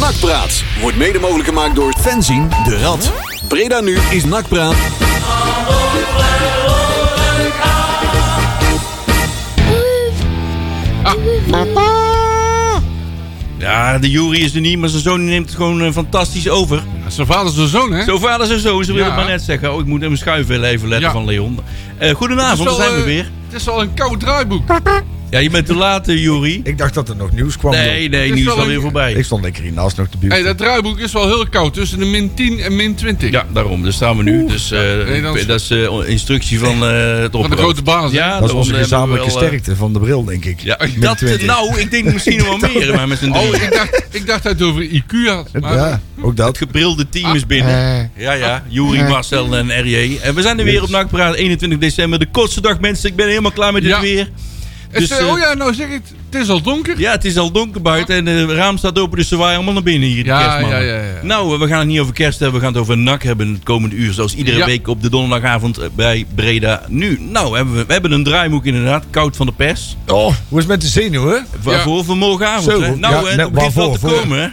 Nakpraat wordt mede mogelijk gemaakt door fanzine de Rad. Breda nu is Nakpraat. Ja, de jury is er niet, maar zijn zoon neemt het gewoon eh, fantastisch over. Zijn vader is de zoon, hè? Zo vader en zo, ze wil Hm? Ja. het maar net zeggen. Oh, ik moet in mijn schuifwil even letten Ja. van Leon. Eh, Het is goedenavond, al, daar zijn we eh, weer. Het is al een koud draaiboek. Ja, je bent te laat, eh, Jury. Ik dacht dat er nog nieuws kwam. Nee, nee, is nu is wel het alweer een- voorbij. joh. Ik stond lekker hiernaast nog te Hey, buurt. dat draaiboek is wel heel koud. Tussen de min 10 en min 20. Ja, daarom. Daar staan we nu. Dus eh, nee, dan is- dat is eh, instructie van eh het Van de opperhoofd. grote baas. hè? Ja, dat is onze daarom hebben we gezamenlijke wel, eh, sterkte van de bril, denk ik. Ja, Min dat, 20. nou, ik denk misschien nog wel meer, maar met z'n Oh, drieën. ik dacht, ik dacht dat het over IQ had. Maar Eh, ja, ook dat. Het gebrilde team Ah. is Eh. binnen. Ja, ja. Jury, Marcel en RJ. En we zijn er weer op Nakpraat, 21 december. De kortste dag, mensen. Ik ben helemaal klaar met dit Ja. weer. het is, Dus, eh, eh, oh ja, nou zeg ik het. Het is al donker. Ja, het is al donker buiten en eh, het raam staat open, dus ze waaien allemaal naar binnen hier. de Ja, kerstmannen. ja, ja, ja. Nou, eh, we gaan het niet over kerst hebben, we gaan het over NAC hebben het komende uur. Zoals iedere Ja. week op de donderdagavond eh, bij Breda nu. Nou, hebben we, we hebben een draaiboek inderdaad, koud van de pers. Oh, hoe is het met de zenuwen? Waarvoor? Voor morgenavond. Zo, hè? Nou, ja, eh, het nou, begint wel te waarvoor? Voor- komen, hè?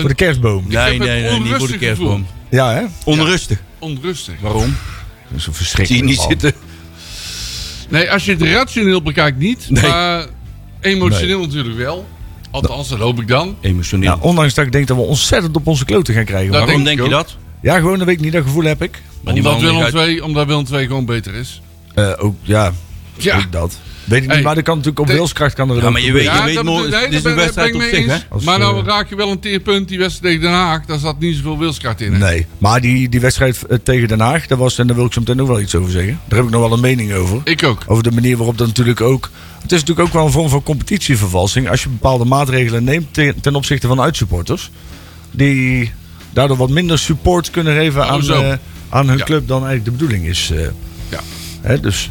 Voor de kerstboom. eh? heb Nee, een nee, nee, niet voor de onrustig kerstboom. Ja, hè? Onrustig. Onrustig. Waarom? Dat is een Zie je verschrikkelijk. niet man. zitten. Nee, als je het rationeel bekijkt niet. Nee. Maar emotioneel natuurlijk wel. Althans, dat hoop ik dan. Emotioneel. Nou, ondanks dat ik denk dat we ontzettend op onze kloten gaan krijgen. Dat maar- Waarom denk denk ik je ook. dat? ja, gewoon, dat weet ik niet. Dat gevoel heb ik. Maar die omdat, man Willem ligt uit- II, omdat Willem 2 gewoon beter is. Eh, ook, ja, Ja. ook dat. Weet ik Hey, niet, maar dat kan natuurlijk op de- wilskracht kan er Ja, maar je weet, je Ja, weet dat morgen, bedoel- nee, dit is daar een ben- wedstrijd op daar ben ik zich, mee hè? eens. Als, maar nou eh, raak je wel een teerpunt, die wedstrijd tegen Den Haag. Daar zat niet zoveel wilskracht in. hè? Nee, maar die, die wedstrijd eh, tegen Den Haag, dat was, en daar wil ik zo meteen ook wel iets over zeggen. Daar heb ik nog wel een mening over. Ik ook. Over de manier waarop dat natuurlijk ook. Het is natuurlijk ook wel een vorm van competitievervalsing. Als je bepaalde maatregelen neemt ten, ten opzichte van uitsupporters. Die daardoor wat minder support kunnen geven aan, zo. eh, aan hun Ja. club dan eigenlijk de bedoeling is. eh. Ja. Hè, dus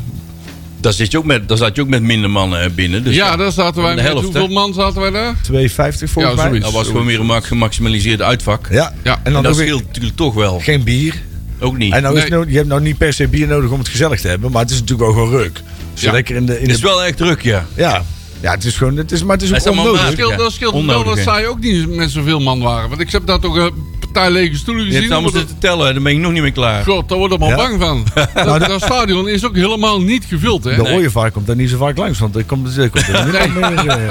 Daar zit je ook met- daar zat je ook met minder mannen eh, binnen. Dus ja, daar zaten wij de met helft, hoeveel hè? man zaten wij daar? 2,50 volgens Ja, mij. zoiets. Dat Nou, was gewoon weer een ma- gemaximaliseerd uitvak. Ja. Ja, en dan dat ook weer scheelt natuurlijk toch wel. geen bier. Ook niet. En nou is Nee. het nou- je hebt nou niet per se bier nodig om het gezellig te hebben. Maar het is natuurlijk wel gewoon ruk. Dus Ja. lekker in de. In het is de wel echt druk, ja. ja. ja, het is gewoon. Het is, maar het Hij is is ook allemaal onnodig. Dat scheelt, Ja, dat scheelt wel onnodig, dat hè? zij ook niet met zoveel man waren. Want ik heb daar toch een partij lege stoelen Je hebt gezien. allemaal maar dat- zitten tellen, daar ben ik nog niet mee klaar. God, daar word ik al Ja. bang van. Dat, dat stadion is ook helemaal niet gevuld, hè? De ooievaar komt daar niet zo vaak langs. Want er komt, er komt er niet meer.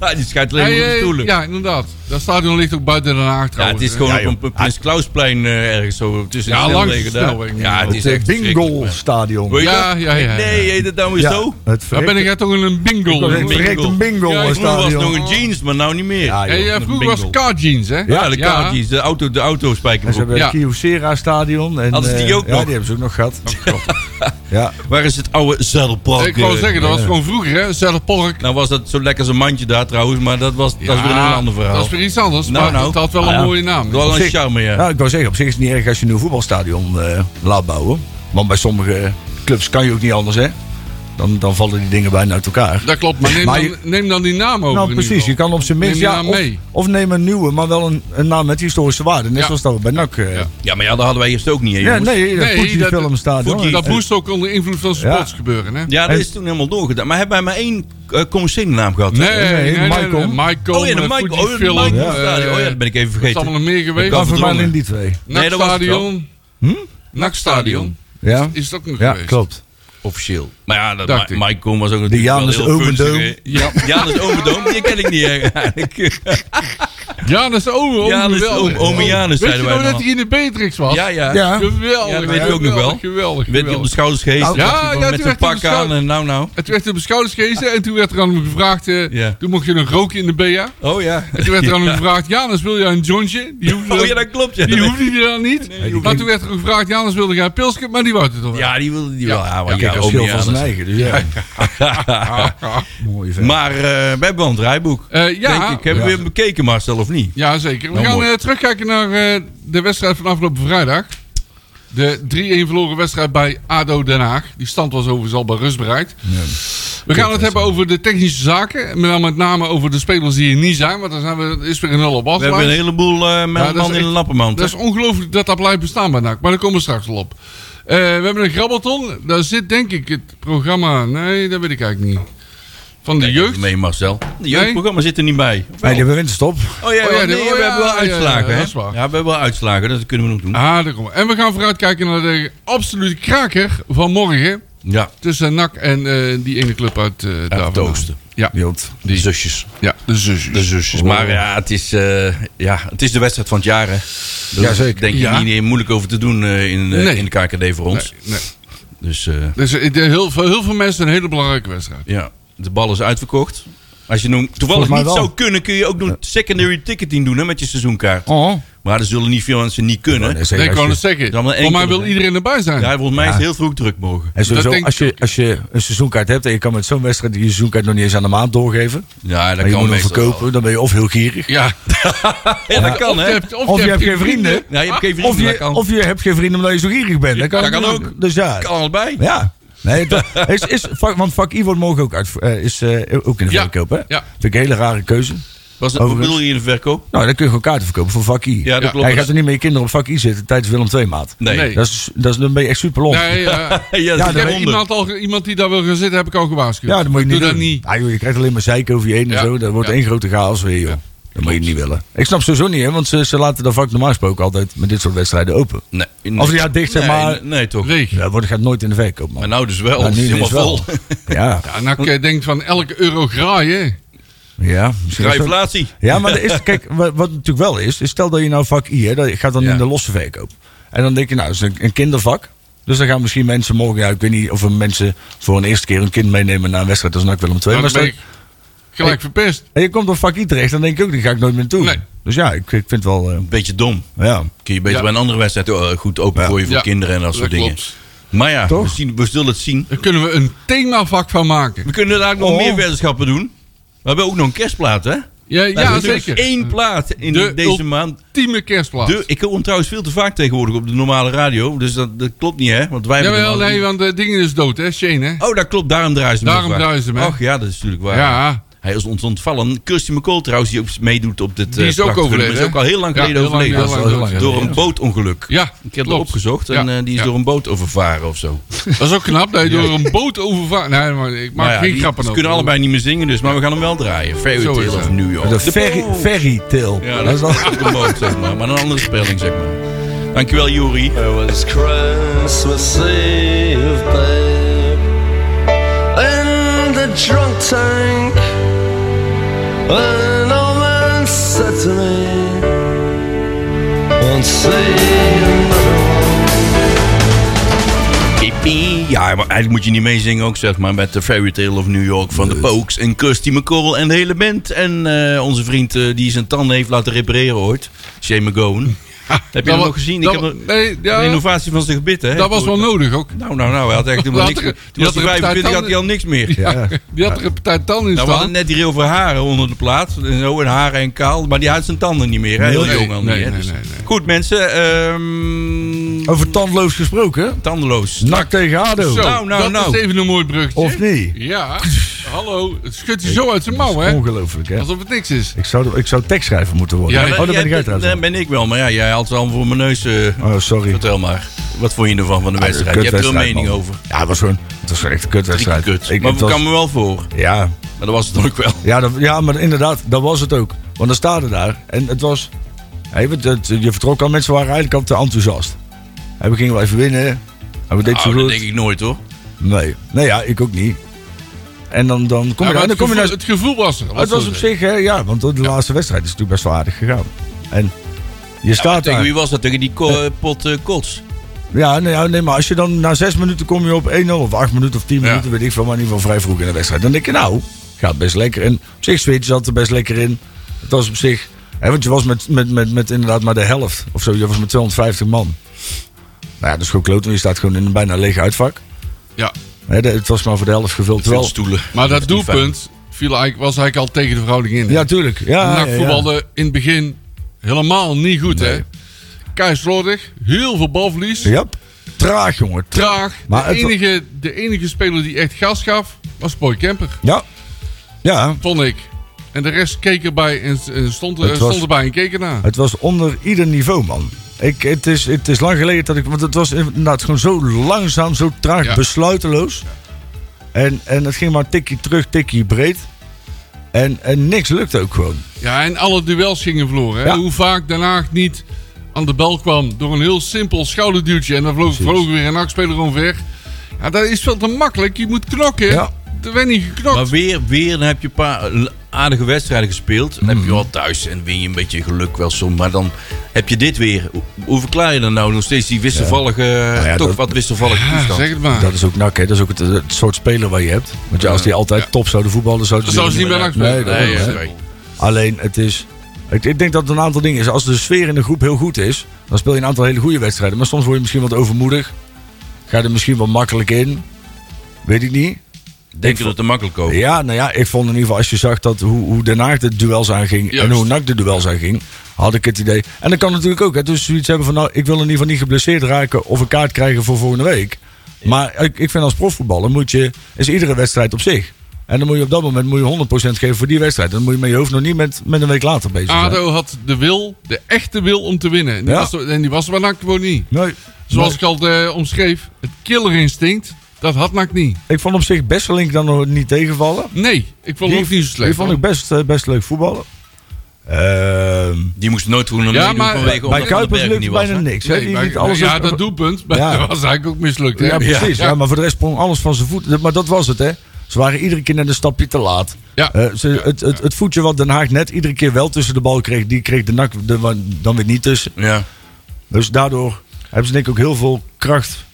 eh, Die schijnt alleen maar Hey, op de hey, stoelen. Ja, ja, inderdaad. Dat stadion ligt ook buiten Den Haag trouwens. het is hè? gewoon Ja, joh. op een Prins Klausplein eh, ergens zo tussen Ja, de langs snelwegen de daar. snelweg. Ja, het is echt Het bingo verschrikkelijk, stadion. man. Ja, ja, ja, ja. Nee, heet het nou weer zo? het Daar ben ik echt toch in een bingo. was echt jongen. verrekt een bingo Ja, Vroeger was het nog stadion. een jeans, maar nou niet meer. Ja, Ja, Hey, eh, joh. vroeger bingo. was car jeans, hè? de kaartjes, de auto, de auto En ze hebben Ja. het Kyocera stadion. En, Hadden ze die eh, ook ja, nog? die hebben ze ook nog gehad. ja. Waar is het oude zedelpark? Ik wou eh? zeggen, dat was gewoon vroeger, hè? Zelfpork. Nou was dat zo lekker zo'n mandje daar trouwens, maar dat was, dat is weer een ander verhaal. Dat is weer iets anders, Nou, maar nou. het had wel Ah, een ja. mooie naam. Wel Op een zich- charme, ja. Nou, ik wou zeggen, op zich is het niet erg als je een nieuw voetbalstadion eh, laat bouwen. Want bij sommige clubs kan je ook niet anders, hè. Dan, dan vallen die dingen bijna uit elkaar. Dat klopt, maar neem, Maar je- dan, neem dan die naam over. Nou, in precies. ieder Je geval. kan op zijn minst... Neem die Ja, naam of, mee. of neem een nieuwe, maar wel een, een naam met historische waarde. Net Ja. zoals dat we bij NAC... eh, Ja. Ja, maar ja, dat hadden wij eerst ook niet. hè, Ja, jongens. nee, dat Nee, Fuji dat- Filmstadion. Fuji- Dat En- moest ook onder invloed van sports Ja. gebeuren, hè? Ja, dat is toen helemaal doorgedaan. Maar hebben wij maar één eh naam gehad? Nee, nee, Nee, nee, nee, nee, Michael. Michael. Oh ja, de eh, Michael. Oh, de Fujifilm, Michael eh, Stadion. Oh ja, dat ben ik even Er is allemaal vergeten. nog meer geweest. kan Dan vermaal verdrongen. in die twee. Nee, dat was het wel. Nachtstadion. Nachtstadion. Hm? Ja, Is dat ook nog ja geweest? klopt. Officieel. Maar ja, dat Dacht ik. Ma- Mike Kom was ook natuurlijk Janus wel heel Omendoom. kunstig, hè. Ja, Janus Omendoom, die ken ik niet hè, eigenlijk. Janus Ome. Ome Janus wel. Ome- Ome Janus, Weet je zeiden wij nou dat dan. hij in de Beatrix was? Ja, ja. Ja. Geweldig. Ja, dat weet ik ook nog geweldig, wel. Geweldig, Werd hij op de geweldig. schouders geest. Nou, ja, ja, toen met werd hij zijn pak beschouwd. aan en nou nou. Het werd op de schouders gehezen en toen werd er aan hem gevraagd... eh, Ja. Toen mocht je nog roken in de BA. Oh ja. En toen werd er aan hem gevraagd... Janus, wil jij een jointje? Die hoefde Oh ja, dat klopt. Ja, Die Dat- hoefde hij dan niet. maar toen werd er gevraagd, ja, anders wilde jij pilsken, maar die wou het toch wel. ja die wilde die wel. Ja, maar ja, Kijk, dat Ome schil van zijn Janus. eigen. Dus ja. Ah. Mooi vent. Maar eh, we hebben wel een draaiboek. Eh, ja. Denk ik. Hebben we Ja. weer bekeken Marcel of niet? Ja, zeker. We Nou, gaan mooi. eh, terugkijken naar eh, de wedstrijd van afgelopen vrijdag. De 3-1 verloren wedstrijd bij ADO Den Haag. Die stand was overigens al bij rust bereikt. We gaan het hebben over de technische zaken. Maar dan met name over de spelers die er niet zijn. Want daar zijn we, is weer een hele We hebben een afslag. heleboel eh Ja, dat man is in de echt- lappenmand. Dat is ongelooflijk dat dat blijft bestaan bij NAC. Maar daar komen we straks al op. Eh, we hebben een grabbelton. Daar zit denk ik het programma... Nee, dat weet ik eigenlijk niet. Van de Kijk jeugd. even mee, Marcel. De jeugdprogramma zit er niet bij. Of Nee, wel? die hebben winterstop. Oh ja, Oh ja, die- want nee, oh we ja, hebben wel ja, uitslagen. ja, hè? dat is waar. Ja, we hebben wel uitslagen, dat kunnen we nog doen. Ah, daar komen we. En we gaan vooruitkijken naar de absolute kraker van morgen. Ja, Tussen NAC en eh, die ene club uit eh daar het vandaan. oosten. Ja, Jood. Die zusjes. Oh. ja, de zusjes. Oh. De zusjes. Maar ja het, is, eh, ja, het is de wedstrijd van het jaar. Hè. Daar Jazeker. denk je Ja. niet eh, moeilijk over te doen eh, in, eh, Nee. in de KKD voor ons. Nee, nee. Dus eh, Dus eh, de- heel, veel, heel veel mensen een hele belangrijke wedstrijd. ja, de bal is uitverkocht. Als je nu toevallig Volgens mij niet wel. zou kunnen, kun je ook nog secondary ticketing doen hè, met je seizoenkaart. Oh. Maar er zullen niet veel mensen niet kunnen. Nee, zeker. Nee, ik wou Als het je- zeggen. Dan wel één Voor mij club, wil hè? iedereen erbij zijn. Ja, volgens mij is het heel vroeg druk mogen. En sowieso, denk ik als, je, als je een seizoenkaart hebt en je kan met zo'n wedstrijd die seizoenkaart nog niet eens aan de maand doorgeven. Ja, dat Maar je kan moet hem meestal verkopen, dan ben je of heel gierig. Ja. wel. Ja, dat kan Of je Ah, hè. hebt, Of je hebt geen vrienden. Ja, je hebt geen Of vrienden, dat je, kan. of je hebt geen vrienden omdat je zo gierig bent. Dat kan, dat kan ook. Dus ja. Kan allebei. Ja. Nee, dat, is, is, vak- want vak I wordt morgen ook, uit, eh, is, eh, ook in de Ja. verkoop. Hè? Ja. Vind ik een hele rare keuze. Was het, hoe Overigens. bedoel je in de verkoop? Nou, dan kun je gewoon kaarten verkopen voor vak I. Ja, dat Ja. klopt. Hij gaat er niet met je kinderen op vak I zitten tijdens Willem II maat. Nee. Nee. Dat is, dat is, dan ben je echt super lomp. Nee, ja. Ja, dat Ja, Ik is heb daaronder. daaronder. iemand, al, ge- iemand die daar wil gaan zitten, heb ik al gewaarschuwd. Ja, dat moet je niet Doe doen. dat niet. Ah, joh, je krijgt alleen maar zeiken over je heen en Ja. zo. Dat wordt Ja. één grote chaos weer, joh. Dat moet je niet willen. Ik snap sowieso niet, hè, want ze, ze laten dat vak normaal gesproken altijd met dit soort wedstrijden open. Nee, nee. Of die had dicht, zeg Nee, maar. Nee, nee, toch. Leeg. Ja, wordt gaat nooit in de verkoop, man. Maar nou dus wel. Ja, het is nu oh, helemaal dus wel. vol. Ja, Ja, en ik denk van elke euro graaien. ja. misschien is dat- Inflatie. Ja, maar er is, kijk, wa- wat, natuurlijk wel is, is stel dat je nou vak I, hè, dat gaat dan Ja. in de losse verkoop. En dan denk je, nou, dat is een, een kindervak. Dus dan gaan misschien mensen morgen, ja, ik weet niet of er mensen voor een eerste keer een kind meenemen naar een wedstrijd als NAC Willem II. Nou, Dan Maar stel- ben ik gelijk verpest. en je komt op vak I terecht, dan denk ik ook, die ga ik nooit meer naartoe. Nee. Dus ja, ik, ik vind het wel, eh, Beetje dom. ja. Kun je beter Ja. bij een andere wedstrijd eh, goed opengooien voor Ja. kinderen en dat soort dingen. klopt. Maar ja, we, Toch? zien, we zullen het zien. Daar kunnen we een themavak van maken. We kunnen daar ook nog Oh. meer weddenschappen doen. We hebben ook nog een kerstplaat, hè? Nou, Ja, er is ja natuurlijk zeker. één plaat in De deze ult- maand. Tieme kerstplaat. De, ik hoor hem trouwens veel te vaak tegenwoordig op de normale radio. Dus dat, dat klopt niet, hè? Want wij hebben Jawel, hem al- nee, want de dingen is dood, hè, Shane, hè? Oh, dat klopt. Daarom draaien ze hem Daarom ook vaak. draaien ze hem, hè? Ach ja, dat is natuurlijk waar. Ja. Hij is ons ontvallen. Kirsty McCall trouwens, die ook meedoet op dit Die is eh, ook prachtige overleden, nummer, Is ook al heel lang Ja, geleden heel lang, overleden. heel Dat is lang al geleden, Door ja. een bootongeluk. Ja, Ik heb klopt. erop gezocht en Ja, eh, die is ja. door een boot overvaren of zo. Dat is ook knap, dat je door een boot overvaart. Nee, maar ik maak Maar Nou ja, geen die- grappen Ze over. kunnen allebei niet meer zingen, dus, maar we gaan hem wel draaien. Fairy Zo is Tale het. of New York. De ferry, ferry tale. Ja, dat is wel... een boot, zeg maar. Maar een andere spelling, zeg maar. Dankjewel, Juri. It was Christmas Eve, babe. In the drunk tank, an old man said to me, Won't see another one. Pipi. Ja, maar eigenlijk moet je niet meezingen ook, zeg maar, met de Fairy Tale of New York van de Pokes en Kirsty McCall en de hele band. En eh, onze vriend eh, die zijn tanden heeft laten repareren ooit, Shane McGowan. heb je Dat dat wa- nog gezien? Ik dat heb wa- een- nee, ja, een innovatie van zijn gebit, hè? dat was wel nodig ook. Nou, nou, nou, hij had echt helemaal Dat niks er- meer. Toen was dat hij er een 25, had tanden- hij al niks meer. Ja. Die had er een partij tanden in Nou, we staan. hadden net hier over haren onder de plaat. En zo, en haren en kaal. Maar die had zijn tanden niet meer. hè? Heel Nee, jong al nee, niet. hè? nee, Dus- nee, nee. Goed, mensen. ehm, Over tandloos gesproken. tandeloos. Nak tegen ADO. Zo, Nou, nou, dat nou. is even een mooi bruggetje. Of niet? Ja, hallo. Het schudt je zo uit zijn mouw, Nou, hè? Ongelooflijk, hè? Alsof het niks is. Ik zou, ik zou tekstschrijver moeten worden. Ja, oh, daar ben ik uit Dat ben ik wel. Maar ja, jij had het al voor mijn neus. eh, Oh, sorry. Vertel maar. Wat vond je ervan van de Ja, wedstrijd? Je hebt er een kutwedstrijd, mening man. over. Ja, het was gewoon, het was gewoon echt een Drie kutwedstrijd. kut. Ik- maar het we was- kwamen wel voor. ja, Maar dat was het ook wel. ja, dat, ja, maar inderdaad, dat was het ook. Want dan staat er daar en het was... Hey, het, het- je vertrok al, mensen waren eigenlijk al te enthousiast. Hey, we gingen wel even winnen. En we deden zo Oh, dat goed. denk ik nooit hoor. Nee. nee, ja, ik ook niet. En dan, dan kom Ja, je maar daar. het, En dan kom je gevoel, naar, het gevoel was er. het was op zich, hè, ja, want de laatste wedstrijd is natuurlijk best wel aardig gegaan. En je staat Tegen daar. wie was dat? Tegen die ko- eh, pot eh, kots. Ja, nee, ja, nee, maar als je dan na zes minuten kom je op 1-0 of 8 minuten of 10 Ja. minuten, weet ik veel, maar in ieder geval vrij vroeg in de wedstrijd. Dan denk je, nou, gaat best lekker. En op zich, Switch zat er best lekker in. Het was op zich, hè, want je was met, met, met, met inderdaad maar de helft of zo. Je was met 250 man. Nou ja, dat is gewoon kloten, want je staat gewoon in een bijna lege uitvak. Ja, Hè, de- het was maar voor de helft gevuld. Veel Terwijl, stoelen. maar dat is niet doelpunt viel eigenlijk, was eigenlijk al tegen de verhouding in. hè? ja, tuurlijk. Ja, NAC ja, ja. voetbalde in het begin helemaal niet goed, hè? Keislordig, heel veel balverlies, Ja. Traag, jongen. Traag. traag. Maar de, het- enige, de enige speler die echt gas gaf, was Boy Kemper, Ja. Ja, vond ik. En de rest keek erbij en, en stond, er- Het was- stond erbij en keek ernaar. Het was onder ieder niveau, man. Ik, het, is, het is lang geleden dat ik. Want het was inderdaad gewoon zo langzaam, zo traag, Ja. besluiteloos. En, en het ging maar tikkie terug, tikkie breed. En, en niks lukte ook gewoon. Ja, en alle duels gingen verloren. Hè? Ja. Hoe vaak Den Haag niet aan de bel kwam door een heel simpel schouderduwtje. En dan vloog, vloog weer een nachtspeler omver. Ja, dat is veel te makkelijk. Je moet knokken. Ja. Er werd niet geknokt. Maar weer, weer dan heb je een paar eh, l- aardige wedstrijden gespeeld. Dan Mhm. heb je wel thuis en win je een beetje geluk wel soms. Maar dan heb je dit weer. Hoe- Hoe verklaar je dan nou nog steeds die wisselvallige, Nou ja, toch dat- wat wisselvallige Ja, toestand? Ah, zeg het maar. Dat is ook nak, hè? Dat is ook het, het soort speler waar je hebt. Want ja, als die altijd top zouden voetballen, zou het Zou ze niet meer uit. NAC spelen. Nee, dat Nee, ook ja, niet. nee. Alleen het is. Ik, ik denk dat het een aantal dingen is. Als de sfeer in de groep heel goed is, dan speel je een aantal hele goede wedstrijden. Maar soms word je misschien wat overmoedig. Ga je er misschien wat makkelijk in. Weet ik niet. Denk je dat het te makkelijk over? Ja, nou ja, ik vond in ieder geval als je zag dat hoe, hoe Den Haag de duels aanging Juist. en hoe NAC de duels aanging, had ik het idee. En dat kan natuurlijk ook, hè, dus zoiets hebben van nou, ik wil in ieder geval niet geblesseerd raken of een kaart krijgen voor volgende week. Maar ik, ik vind als profvoetballer moet je, is iedere wedstrijd op zich. En dan moet je op dat moment moet je 100% geven voor die wedstrijd. En dan moet je met je hoofd nog niet met, met een week later bezig zijn. ADO had de wil, de echte wil om te winnen. En die, Ja. was, er- en die was er bij NAC gewoon niet. Nee, Zoals Nee. ik al eh, omschreef, het killerinstinct, dat had NAC niet. ik vond op zich best wel link dan nog niet tegenvallen. Nee, ik vond het ook niet zo slecht. Die vond hoor. ik best, eh, best leuk voetballen. Ehm, Die moest nooit voor Ja, ja, maar maar vanwege bij omdat Van den Kuipers Berg er lukte niet was. bijna hè? niks. hè. Nee, Die maar- liet alles ja, op- dat doelpunt maar Ja. dat was eigenlijk ook mislukt. hè? Ja, precies. Ja. Ja. maar voor de rest sprong alles van zijn voet. Maar dat was het, hè. Ze waren iedere keer net een stapje te laat. Ja. Eh, ze, het, het, het voetje wat Den Haag net iedere keer wel tussen de bal kreeg... die kreeg de NAC er wa- dan weer niet tussen. Ja. Dus daardoor hebben ze denk ik ook heel veel kracht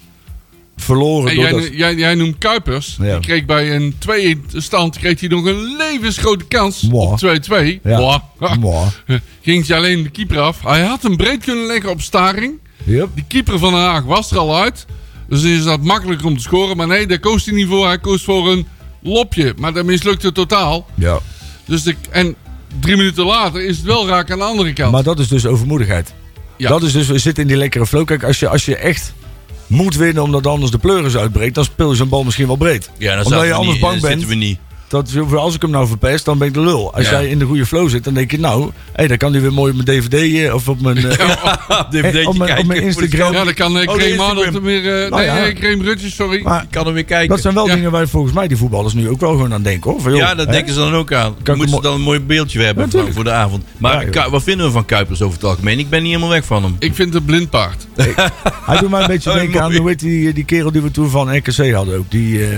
verloren. En jij, doordat- jij, jij noemt Kuipers. Ja. Die kreeg bij een 2-1 stand kreeg hij nog een levensgrote kans Mwah. op 2-2. Ja. Mwah. Mwah. Ging hij alleen de keeper af. Hij had hem breed kunnen leggen op Staring. Yep. Die keeper van Den Haag was er al uit. Dus is dat makkelijker om te scoren. Maar nee, daar koos hij niet voor. Hij koos voor een lopje. Maar dat mislukte totaal. Ja. Dus de, en drie minuten later is het wel raak aan de andere kant. Maar dat is dus overmoedigheid. Ja. Dat is dus, we zitten in die lekkere flow. Kijk, als je, als je echt moet winnen omdat anders de pleuris uitbreekt... dan speel je zo'n bal misschien wel breed. Ja, dan zaten omdat we je anders niet, bang dan bent... zitten we niet. Dat, als ik hem nou verpest, dan ben ik de lul. Als Ja. jij in de goede flow zit, dan denk je nou... Hé, dan kan hij weer mooi op mijn DVD eh, of op mijn... eh, DVD op mijn- op mijn kijken. Instagram. ja, dan kan eh, Oh, de Graham Instagram. Arnold hem weer... eh, Nou nee, ja. eh, Graham Rutjes, sorry. maar Ik kan hem weer kijken. dat zijn wel Ja. dingen waar volgens mij die voetballers nu ook wel gewoon aan denken. Hoor. Van, joh, ja, dat hè? denken ze dan ook aan. Kan ik Moeten een ze dan een mooi beeldje hebben Ja, van- tuurlijk. voor de avond. Maar Ja, joh. Ku- wat vinden we van Kuipers over het algemeen? Ik ben niet helemaal weg van hem. Ik vind het een blind paard. Hij doet mij een beetje Oh, denken aan mooi. hoe heet die, die kerel die we toen van RKC hadden ook. Die, eh,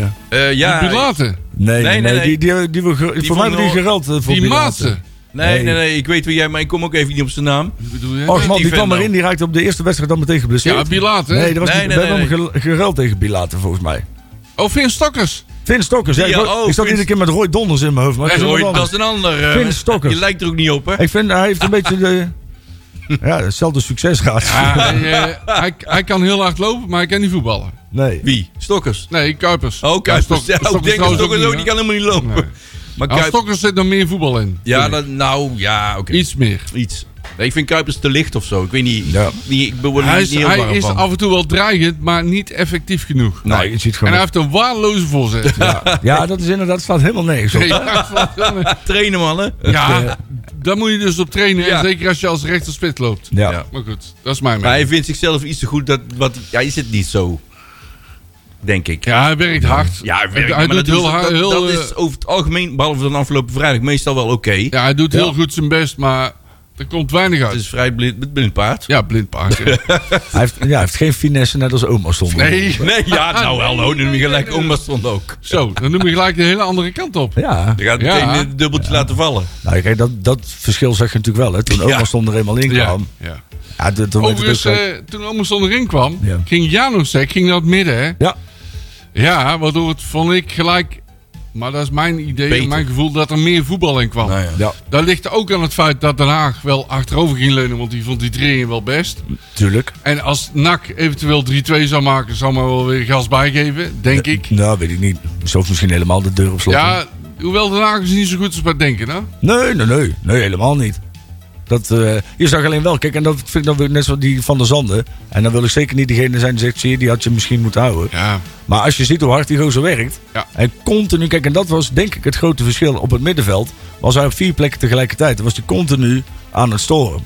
Eh, ja, Die Pilaten. nee, nee, nee, nee, nee. Die, die, die, we ge- voor mij vonden hebben die we- gereld eh, voor Die Piraten. Maatsen. nee, nee, nee. Ik weet wie jij, maar ik kom ook even niet op zijn naam. Wie bedoel jij? Och man, Die die kwam vent erin. Die raakte op de eerste wedstrijd dan meteen geblesseerd. Ja, Bilater. Nee, dat was Nee, niet, nee, we hebben nee, hem ge- gereld tegen Bilater volgens mij. Oh, Vin Stokkers. Vin Stokkers. Ja, Die- ik, wa- oh, ik zat Vin- iedere keer met Roy Donders in mijn hoofd. Maar Nee, het is hoor, iemand dat is anders. een ander. eh. Vin Stokkers. Je lijkt er ook niet op, hè? Ik vind, hij heeft een beetje de... Ja, hetzelfde succesgraad. hij, eh, hij, hij kan heel hard lopen, maar hij kan niet voetballen. Nee. Wie? Stokkers. Nee, Kuipers. Oh, Kuipers. Stok- Ja, ik denk dat trouwens Stokkers ook, hè? die kan helemaal niet lopen. Nee. Maar Ah, Kuipers... Stokkers zit nog meer voetbal in. Ja, dat, nou, ja, oké. Iets meer. Iets. Nee, ik vind Kuipers te licht of zo. Ik weet niet. Ja. niet ik ben er Hij niet is, heel hij warm is van. af en toe wel dreigend, maar niet effectief genoeg. Nou, je ziet En hij gewoon. heeft een waardeloze voorzet. Ja, Ja, dat is inderdaad, staat helemaal nergens op. ja, Trainen, mannen. daar moet je dus op trainen. Ja. En zeker als je als rechterspit loopt. Ja. Ja. Maar goed, dat is mijn Maar hij mening. vindt zichzelf iets te goed dat... Wat, ja, hij zit niet zo. Denk ik. Ja, hij werkt hard. Ja, hij werkt, hij maar doet dat, heel is, hard. dat, heel, dat eh, is over het algemeen, behalve dan afgelopen vrijdag, meestal wel oké. Ja, hij doet heel goed zijn best, maar er komt weinig Het uit. is vrij blind, blind paard. Ja, blind paard. ja. Hij heeft, ja, hij heeft geen finesse net als oma stond. Nee. Nee, ja, Ah, nou wel, nou, nu gelijk oma stond ook. Zo, dan noem je gelijk de hele andere kant op. Ja, Je gaat Ja. meteen het dubbeltje laten vallen. nou, kijk, dat, dat verschil zag je natuurlijk wel. Hè. Toen Ja. oma stond er eenmaal in Ja. kwam. ja. Ja, toen- toen werd het Overigens, ook- eh, toen Omerson erin kwam, Ja. ging Janosek ging naar het midden. Hè? ja, Ja, waardoor het vond ik gelijk. Maar dat is mijn idee Beter. en mijn gevoel dat er meer voetbal in kwam. Nou ja. ja, Dat ligt ook aan het feit dat Den Haag wel achterover ging leunen, want die vond die 3 wel best. tuurlijk. En als NAC eventueel 3-2 zou maken, zou maar wel weer gas bijgeven, denk ik. Nou, weet ik niet. Ze hoeft misschien helemaal de deur op slot. Ja, hoewel Den Haag is niet zo goed als bij denken, hè? Nee, nee, nee. Nee, helemaal niet. Dat, eh, je zag alleen wel, kijk, en dat vind ik dan weer net zoals die van der Zanden. En dan wil ik zeker niet diegene zijn die zegt, zie je, die had je misschien moeten houden. Ja. Maar als je ziet hoe hard die gozer werkt. Ja. En continu, kijk, en dat was denk ik het grote verschil op het middenveld. Was hij op vier plekken tegelijkertijd. Dan was hij continu aan het storen.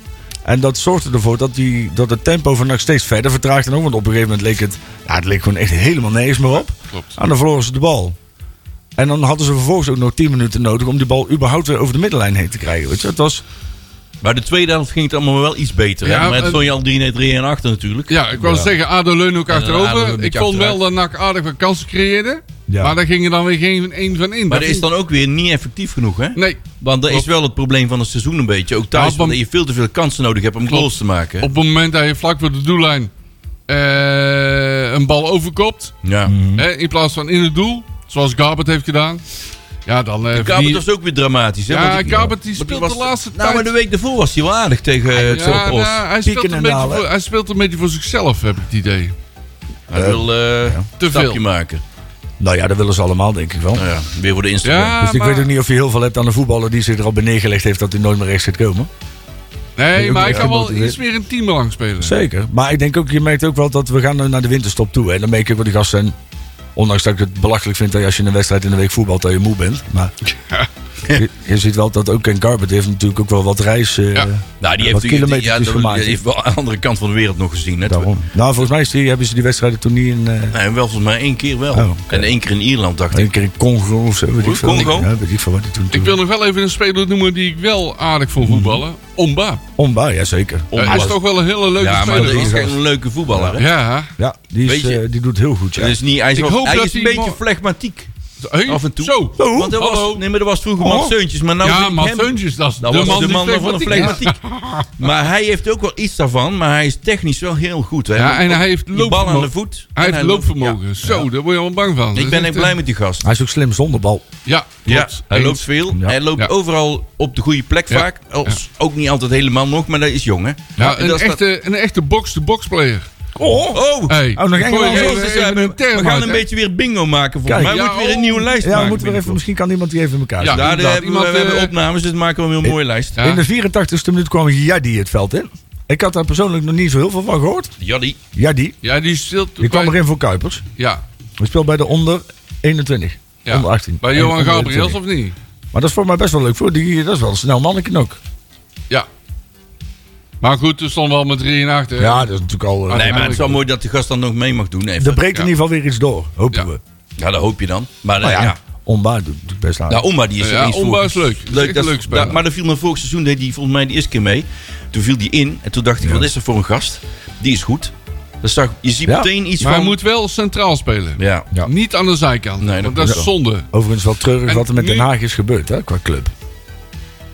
En dat zorgde ervoor dat, die, dat het tempo van NAC steeds verder vertraagde. En ook, want op een gegeven moment leek het, ja, het leek gewoon echt helemaal nergens meer op. Klopt. En dan verloren ze de bal. En dan hadden ze vervolgens ook nog 10 minuten nodig om die bal überhaupt weer over de middenlijn heen te krijgen. Weet je? Het was, Maar de tweede helft ging het allemaal wel iets beter. Ja, hè? Maar het eh, stond je al 3 3 en 8 natuurlijk. Ja, ik wou zeggen, ADO leunde ook ADO een achterover. Ik beetje vond wel achteruit. dat NAC aardig wat kansen creëerde. Ja. Maar daar ging er dan weer geen één van in. Maar Dat dat is dan ook weer niet effectief genoeg, hè? Nee, Want dat is Klopt. wel het probleem van het seizoen een beetje. Ook thuis, Ja, want- omdat je veel te veel kansen nodig hebt om Klopt. goals te maken. op het moment dat je vlak voor de doellijn eh, een bal overkopt... Ja. hè, in plaats van in het doel, zoals Gabert heeft gedaan... Ja, dan... eh Kabert verdien- was ook weer dramatisch. Hè? Ja, Want die- Kabert, die want speelt was- de laatste Nou, maar tijd- de week daarvoor was hij wel aardig tegen eh, ja, het Sopros. nou, hij, speelt Pieken en een beetje dalen. voor, hij speelt een beetje voor zichzelf, heb ik het idee. Hij wil eh Te een stapje veel. maken. nou ja, dat willen ze allemaal denk ik wel. Nou ja, weer voor de Instagram. Ja, dus ik maar- weet ook niet of je heel veel hebt aan een voetballer die zich er al bij neergelegd heeft dat hij nooit meer rechts gaat komen. Nee, ook maar niet hij kan wel gemotiveerd. iets meer een team lang spelen. Zeker. Maar ik denk ook, je merkt ook wel dat we gaan naar de winterstop toe. En dan merk ik ook wel die gasten zijn. Ondanks dat ik het belachelijk vind dat je als je een wedstrijd in de week voetbalt dat je moe bent. Maar je, je ziet wel dat ook Ken Carpet heeft natuurlijk ook wel wat reis. Ja. eh, Nou, die Wat heeft, die, kilometertjes ja, dat- gemaakt. die heeft wel aan de andere kant van de wereld nog gezien. Hè? Daarom. Nou, volgens mij is die, hebben ze die wedstrijden toen niet in. eh, Nee, wel volgens mij één keer wel. Oh, oké. En één keer in Ierland, dacht ik. een keer in Congo of zo. Weet ik Oei, veel. Congo? Ja, weet ik veel wat hij toen. Ik toen- wil nog wel even een speler noemen die ik wel aardig Mhm. vond voetballen. Omba. Omba, ja zeker. Om- hij is toch wel een hele leuke ja, maar speler. dat is hoor. echt een leuke voetballer. hè? Ja, Ja, die, is, Weet je- eh, die doet heel goed. Ja. Dat is niet, hij is, Ik wel- hoop hij dat is een hij beetje mo- flegmatiek. Hey, Af en toe. Zo. Oh. Want dat Hallo. was, nee, maar dat was vroeger Oh. Mats Seuntjes. Maar nou ja, vind ik maar hem- Seuntjes, dat is Dat de Nou, was man, de man die van de flegmatiek- flegmatiek. Maar hij heeft ook wel iets daarvan. Maar hij is technisch wel heel goed. Hè? Ja, en hij heeft Die bal aan de loopvermogen. voet. Hij En heeft loopt- loopvermogen. ja. Zo, daar word je allemaal bang van. Dus Ik ben echt blij met die gast. Hij is ook slim zonder bal. eh, Ja, Ja, klopt. hij Eens. loopt veel. Ja. Hij loopt Ja. overal op de goede plek Ja. vaak. Als, Ook niet altijd helemaal nog, maar dat is jong, hè? Ja, En een dat is dat- echte, een echte box-to-box player. Oh! oh. Hey, nog ik één gooi wel. even- Jezus, we even ja, dus, eh, we een term we gaan uit, een hè. beetje weer bingo maken volgens Kijk. mij. We Ja, moeten weer oh. een nieuwe lijst Ja, maken. we moeten weer even, binnenkort. misschien kan iemand die even in elkaar Ja, zetten. Daar inderdaad. hebben we, Iemand, we hebben eh, opnames, dus maken we weer een mooie lijst. Ja. In de 84ste minuut kwam Jadi het veld in. Ik had daar persoonlijk nog niet zo heel veel van gehoord. Jaddy. Jadi, Ja, die stilt. die kwam erin voor Kuipers. Ja, Hij speelt bij de onder 21. ja. Onder 18. Bij En Johan onder Gabriels 20. of niet? Maar dat is voor mij best wel leuk. Voor die, dat is wel een snel manneken ook. Ja. Maar goed, toen stonden we al met 3 en 8. hè. Ja, dat is natuurlijk al... eh, Nee, maar het is wel goed. mooi dat de gast dan nog mee mag doen. Even. er breekt Ah, ja. in ieder geval weer iets door. Hopen Ja. we. Ja, dat hoop je dan. Maar eh, Nou ja, ja. Onbaar doet het best aan. Ja, Nou, Omba die is Ja, er eens Omba voor. is leuk. Dat is echt leuk een dat, leuk speler. dat- maar dat viel me vorig seizoen, deed die volgens mij de eerste keer mee. Toen viel die in en toen dacht ik, wat is dat voor een gast? Die is goed. Dat zag, je ziet Ja. meteen iets Maar hij van... moet wel centraal spelen. Ja. Ja. Niet aan de zijkant. Nee, dat want dat is klopt zonde. Overigens wel treurig En wat er met nu- Den Haag is gebeurd, hè, qua club.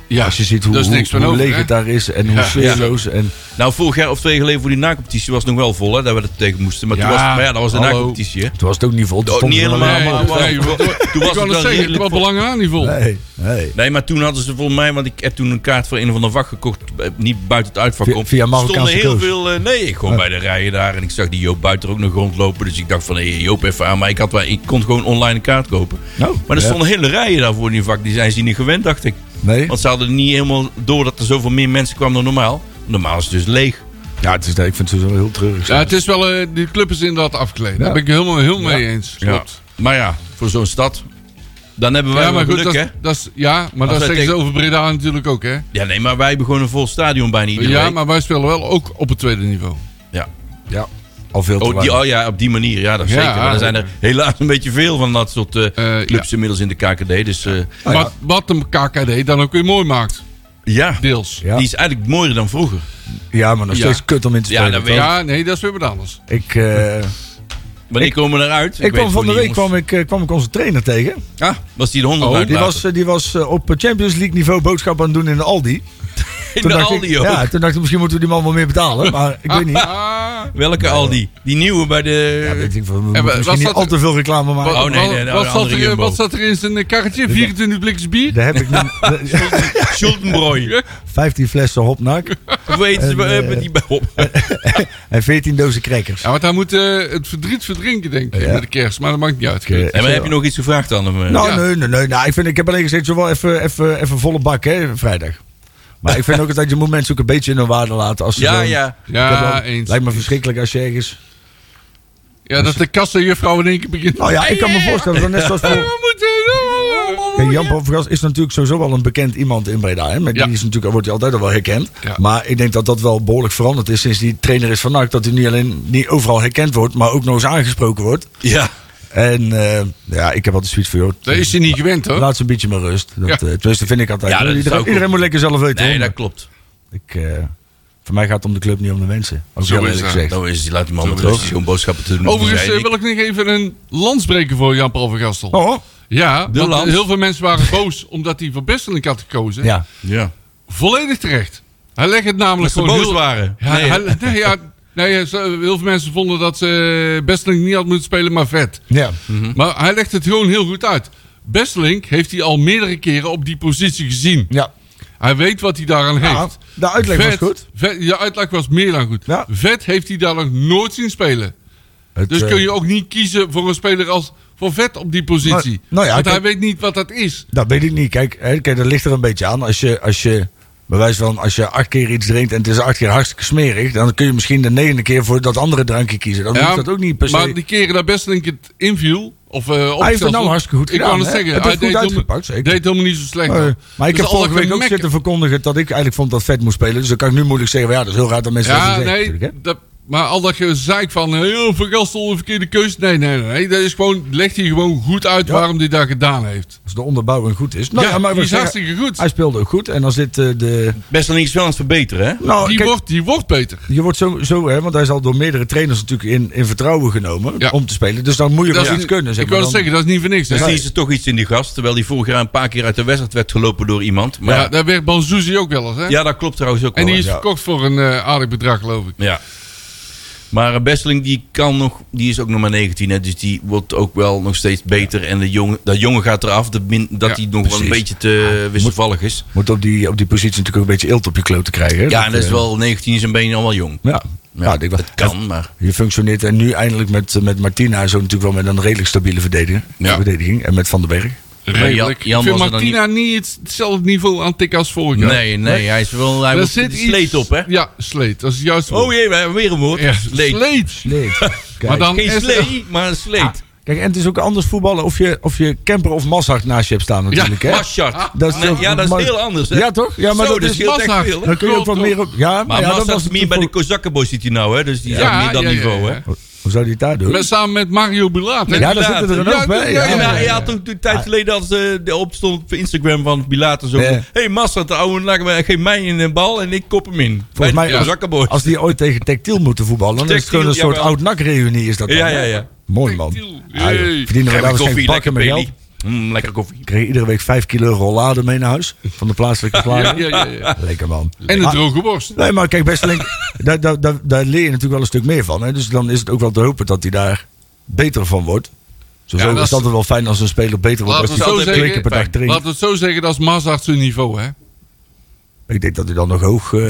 Ja, Als je ziet hoe, daar is hoe, niks van hoe over, leeg hè? het daar is en hoe Ja. sfeerloos. En, Nou, vorig jaar of twee jaar geleden voor die na-competitie was het nog wel vol, hè, dat we er tegen moesten. Maar, Ja, toen was, maar ja, dat was de hallo. na-competitie, hè. toen was het ook niet vol. Toen Ook stonden niet er helemaal, alleen maar- maar- maar- nee, toen was Ik het kan wel het zeggen, het redelijk was vol. belangen aan die vol. Nee, nee. Nee, maar toen hadden ze volgens mij, want ik heb toen een kaart voor een of andere wacht gekocht, eh, niet buiten het uitvak Via- om. via Marokkaanse stonden heel coach. veel, eh, nee, gewoon bij de rijen daar. En ik zag die Joop buiten ook nog rondlopen, dus ik dacht van, hé, Joop even aan. Maar ik, had wel, ik kon gewoon online een kaart kopen. Nou, Maar er ja. stonden hele rijen daar voor in die vak, die zijn ze niet gewend, dacht ik. Nee. Want ze hadden niet helemaal door dat er zoveel meer mensen kwamen dan normaal. Normaal is het dus leeg. Ja, het is, ik vind het wel heel treurig. Ja, het is wel, eh, die club is inderdaad afgekleed. Daar Ja. ben ik helemaal heel mee eens. Ja. Klopt. Maar ja, voor zo'n stad, dan hebben wij Ja, wel maar goed, geluk, dat, hè? is- dat is, ja, maar wij dat zeggen ze tegen- over Breda natuurlijk ook, hè? Ja, nee, maar wij hebben gewoon een vol stadion bijna iedere Ja, week. maar wij spelen wel ook op het tweede niveau. Ja. Ja, al veel te Oh, lang. die, oh ja, op die manier, ja, dat Ja, zeker. Maar er zijn er oké. helaas een beetje veel van dat soort eh, Eh, clubs inmiddels in de KKD. Dus eh, Ah, ja. wat, wat de KKD dan ook weer mooi maakt, ja, deels. Ja. die is eigenlijk mooier dan vroeger. Ja, maar nog Ja. steeds kut om in te Ja, spelen. dat toch? weet Ja, nee, dat is weer wat anders. ik, eh, Wanneer komen we eruit? ik kwam van de week kwam ik... ik, eh, kwam ik onze trainer weet het tegen. gewoon niet, jongens. Ah, was die de honderd Oh, oh, die was, eh, die was eh, op Champions League niveau boodschap aan het doen in de Aldi. in de dacht Aldi ik, ook. Ja, toen dacht ik misschien moeten we die man wel meer betalen. Maar ik weet niet. Ja, Ah, Welke Aldi? Die nieuwe bij ik de... eh, denk van, we moeten wat misschien niet zat al er- te veel reclame maken. Oh, nee, nee, nee, Ah, wat, de zat andere er, Jumbo. wat zat er in zijn karretje? 24 blikjes bier? Daar heb ik nu Schuldenbrooi. 15 flessen hopnak Of weet ze, we En, hebben eh, die bij op. en 14 dozen crackers. Ja, want hij moet eh, het verdriet verdrinken, denk ik, Ja. met de kerst. Maar dat maakt niet uit. Ik, eh, En maar zo- heb je nog iets gevraagd aan hem? eh? Nou, Ja. nee, nee, nee. Nou, ik, vind, ik heb alleen gezegd, zo wel even, even, even volle bak, hè, vrijdag. Maar ik vind ook dat je moet mensen ook een beetje in hun waarde laten. Als ze ja, gewoon- ja. Ik heb Ja, wel- eens. Lijkt me verschrikkelijk als je ergens... Ja, dat de kassenjuffrouw in één keer begint. Nou ja, ik kan me voorstellen dat net zoals voor... We moeten... Kijk, Jan Bovengas is natuurlijk sowieso wel een bekend iemand in Breda. Hè? Met Ja. Die is natuurlijk, wordt hij altijd al wel herkend. Ja. Maar ik denk dat dat wel behoorlijk veranderd is sinds die trainer is van NAC. Dat hij niet alleen niet overal herkend wordt, maar ook nog eens aangesproken wordt. Ja. En eh, ja, ik heb altijd zoiets van, joh, Dat is hij niet gewend hoor. laat ze een beetje maar rust. Dat, Ja. eh, tenminste, vind ik altijd. Ja, dat is iedereen ook iedereen goed. moet lekker zelf weten. Nee, hoor. dat klopt. ik, eh, voor mij gaat het om de club, niet om de mensen. Ook Zo heel is eerlijk dat. gezegd. Nou is het, laat die man met is rust. het. Gewoon boodschappen te doen. Overigens zei eh, ik. wil ik nog even een lans breken voor Jan-Paul van Gastel. Oh, Ja, want lans. heel veel mensen waren boos omdat hij Van Bestelink had gekozen. ja. Ja. Volledig terecht. Hij legt het namelijk Dat ze gewoon boos heel... waren. Ja, Nee. hij- nee, ja, nee, ze- heel veel mensen vonden dat ze Bestelink niet had moeten spelen, maar vet. ja. Maar hij legt het gewoon heel goed uit. Bestelink heeft hij al meerdere keren op die positie gezien. ja. Hij weet wat hij daaraan Ja, heeft. de uitleg was goed. Vet, ja, uitleg was meer dan goed. Ja. Vet heeft hij daar nog nooit zien spelen. Het, Dus eh, kun je ook niet kiezen voor een speler als voor Vet op die positie. Maar- nou ja, Want kijk- hij weet niet wat dat is. Dat weet ik niet. Kijk, hè, kijk, dat ligt er een beetje aan. Als je, als je bij wijze van, als je acht keer iets drinkt en het is acht keer hartstikke smerig, dan kun je misschien de negende keer voor dat andere drankje kiezen. Dan hoeft dat ook niet per se. Maar die keren dat Bestelink het inviel... Of, eh Hij heeft opstelsel- het nou hartstikke goed Ik gedaan, wou het hè? zeggen. Het hij heeft goed deed helemaal- uitgepakt, zeker. deed helemaal niet zo slecht. Eh, hoor. maar ik Dus heb alle vorige week ook mekken. zitten verkondigen dat ik eigenlijk vond dat Vet moest spelen. Dus dan kan ik nu moeilijk zeggen, van, ja, dat is heel raar dat mensen Dus dat Ja, niet zeggen. nee. natuurlijk, hè. Dat, maar al dat gezeik van... eh, oh, van Gastel, een verkeerde keuze. Nee, nee, nee, nee. Dat is gewoon... Legt hij gewoon goed uit Ja. waarom hij dat gedaan heeft. Als de onderbouwing goed is. Nou, ja, ja, maar die we is zeggen, hartstikke goed. hij speelde ook goed. En als dit eh, de... Best wel iets wel aan het verbeteren, hè? Nou, die, kijk, wordt, die wordt beter. je wordt zo, zo hè, want hij is al door meerdere trainers natuurlijk in, in vertrouwen genomen Ja. om te spelen. Dus dan moet je wel Dat is iets niet- kunnen. Zeg ik maar, wil dan- zeggen, dat is niet voor niks. hè? Dus Ja, die is er toch iets in die gast. Terwijl die vorig jaar een paar keer uit de wedstrijd werd gelopen door iemand. Maar ja, ja, daar werd Banzuzi ook wel eens. Hè? ja, dat klopt trouwens ook en wel. die is hè? verkocht voor een eh, aardig bedrag, geloof ik. Ja. Maar eh, Besseling die kan nog, die is ook nog maar 19, hè, dus die wordt ook wel nog steeds beter. En de jongen, dat jongen gaat eraf, de min- dat Ja, Ah, hij nog wel een precies. beetje te wisselvallig is. Moet op die, op die positie natuurlijk ook een beetje eelt op je kloot te krijgen. hè. Ja, en dat is eh, wel 19 is een benen al wel jong. Ja, ja, ik denk wel. dat kan, maar Je functioneert en nu eindelijk met, met Martina zo natuurlijk wel met een redelijk stabiele verdediger, Ja. verdediging. En met Van den Berg. Redelijk. Jan- Jan ik vind was er dan Martina niet... het- hetzelfde niveau aan tikken als vorig jaar. nee, nee, hij is wel, hij Daar moet zit die iets- sleet op, hè? Ja, sleet. Dat is juist. Oh jee, we hebben weer een woord. ja, Sleet. sleet. Nee. Maar dan Geen is- slee, maar een sleet. Kijk, en het is ook anders voetballen of je, of je Kemper of Massart naast je hebt staan natuurlijk. hè? Ah, Maschart. Dat is Nee, toch- ja, dat is maar- heel anders, hè? Ja, toch? Ja, maar Zo, dus dat is... scheelt echt Massart. veel, hè? Dan kun je ook wat Klopt, meer op... Ja, Maar ja, Massa was is meer bij de Kozakkenbos zit hij nou, hè? Dus die Ja, ja, meer dat ja, ja, niveau, ja. hè? Hoe zou die het daar doen? Met, samen met Mario Bulaat. hè? ja, daar zitten er een Ja, hoop bij. ja, Ja, Ah. Ja, ja, hij had ook een tijd geleden als eh, de opstond op Instagram van Pilatus zo. Ja. hey, Massa, de oude laat me- geef mij een eh, bal en ik kop hem in. Volgens mij, ja. als, als die ooit tegen Tactiel moeten voetballen, dan is het Tactiel, gewoon een soort jawel. oud-nak-reunie is dat dan, Ja, hè? ja, ja. Mooi, man. Tactiel, Ja, joh. jee. Verdienen we daar waarschijnlijk koffie, lekker bakken met geld. koffie. Mm, lekker koffie. kreeg iedere week 5 kilo rollade mee naar huis. Van de plaatselijke ja, slager. ja, ja. Lekker man. En de Maar- droge worst. Nee, maar kijk, best alleen. daar, daar, daar, daar leer je natuurlijk wel een stuk meer van. Hè? Dus dan is het ook wel te hopen dat hij daar beter van wordt. Sowieso Ja, dat is het is- altijd wel fijn als een speler beter wordt. Laten Als we hij zo twee zeggen, keer per dag fijn. drinkt. Laten we het zo zeggen, dat is Mazart zijn niveau, hè? Ik denk dat hij dan nog hoog. eh,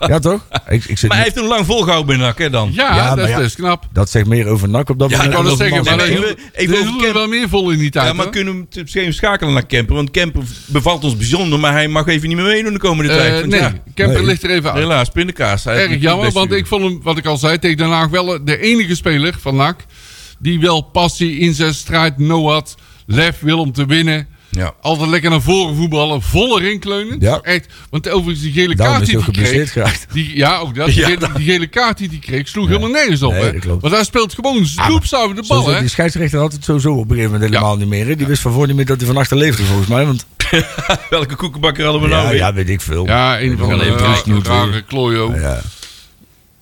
ja, toch? Ik, ik zit Maar hij heeft niet- hem lang volgehouden bij NAC, hè, dan? Ja, Ja, dat, maar is- ja. dat is knap. Dat zegt meer over NAC op dat Ja, moment. ik Ik wou kan dat dan zeggen, over maar Nee, Mazda. nee, even, even- even over er Kemp. wel meer vol in die tijd. Ja, maar hoor. kunnen we hem misschien schakelen naar Kemper? Want Kemper bevalt ons bijzonder, maar hij mag even niet meer meedoen de komende Eh, tijd. want nee, ja, Kemper Nee. ligt er even uit. helaas, pindakaas. Hij heeft Erg het jammer, best want gedaan. ik vond hem, wat ik al zei, tegen Den Haag wel eh, de enige speler van NAC... die wel passie, inzet, strijd, noat, lef wil om te winnen. Ja. Altijd lekker naar voren voetballen, vol erin kleunen. Ja. Echt, want overigens die gele Daarom kaart is hij die ook hij kreeg... geblesseerd geraakt. Die, ja, ook dat. Die, Ja, gele, die gele kaart die hij kreeg sloeg helemaal nergens op. Nee, hè? dat klopt. Want hij speelt gewoon snoepzuiver de Zo bal, zit hè? Die scheidsrechter had het sowieso op een gegeven moment helemaal niet meer. hè. Die wist van voor niet meer dat hij van achter leefde volgens mij. Want, Welke koekenbakker hadden we nou ja, weer? ja, weet ik veel. Ja, eh, een van gaan de even rare, terugknoeten, hoor. eh, rare klooio. Nou Ja.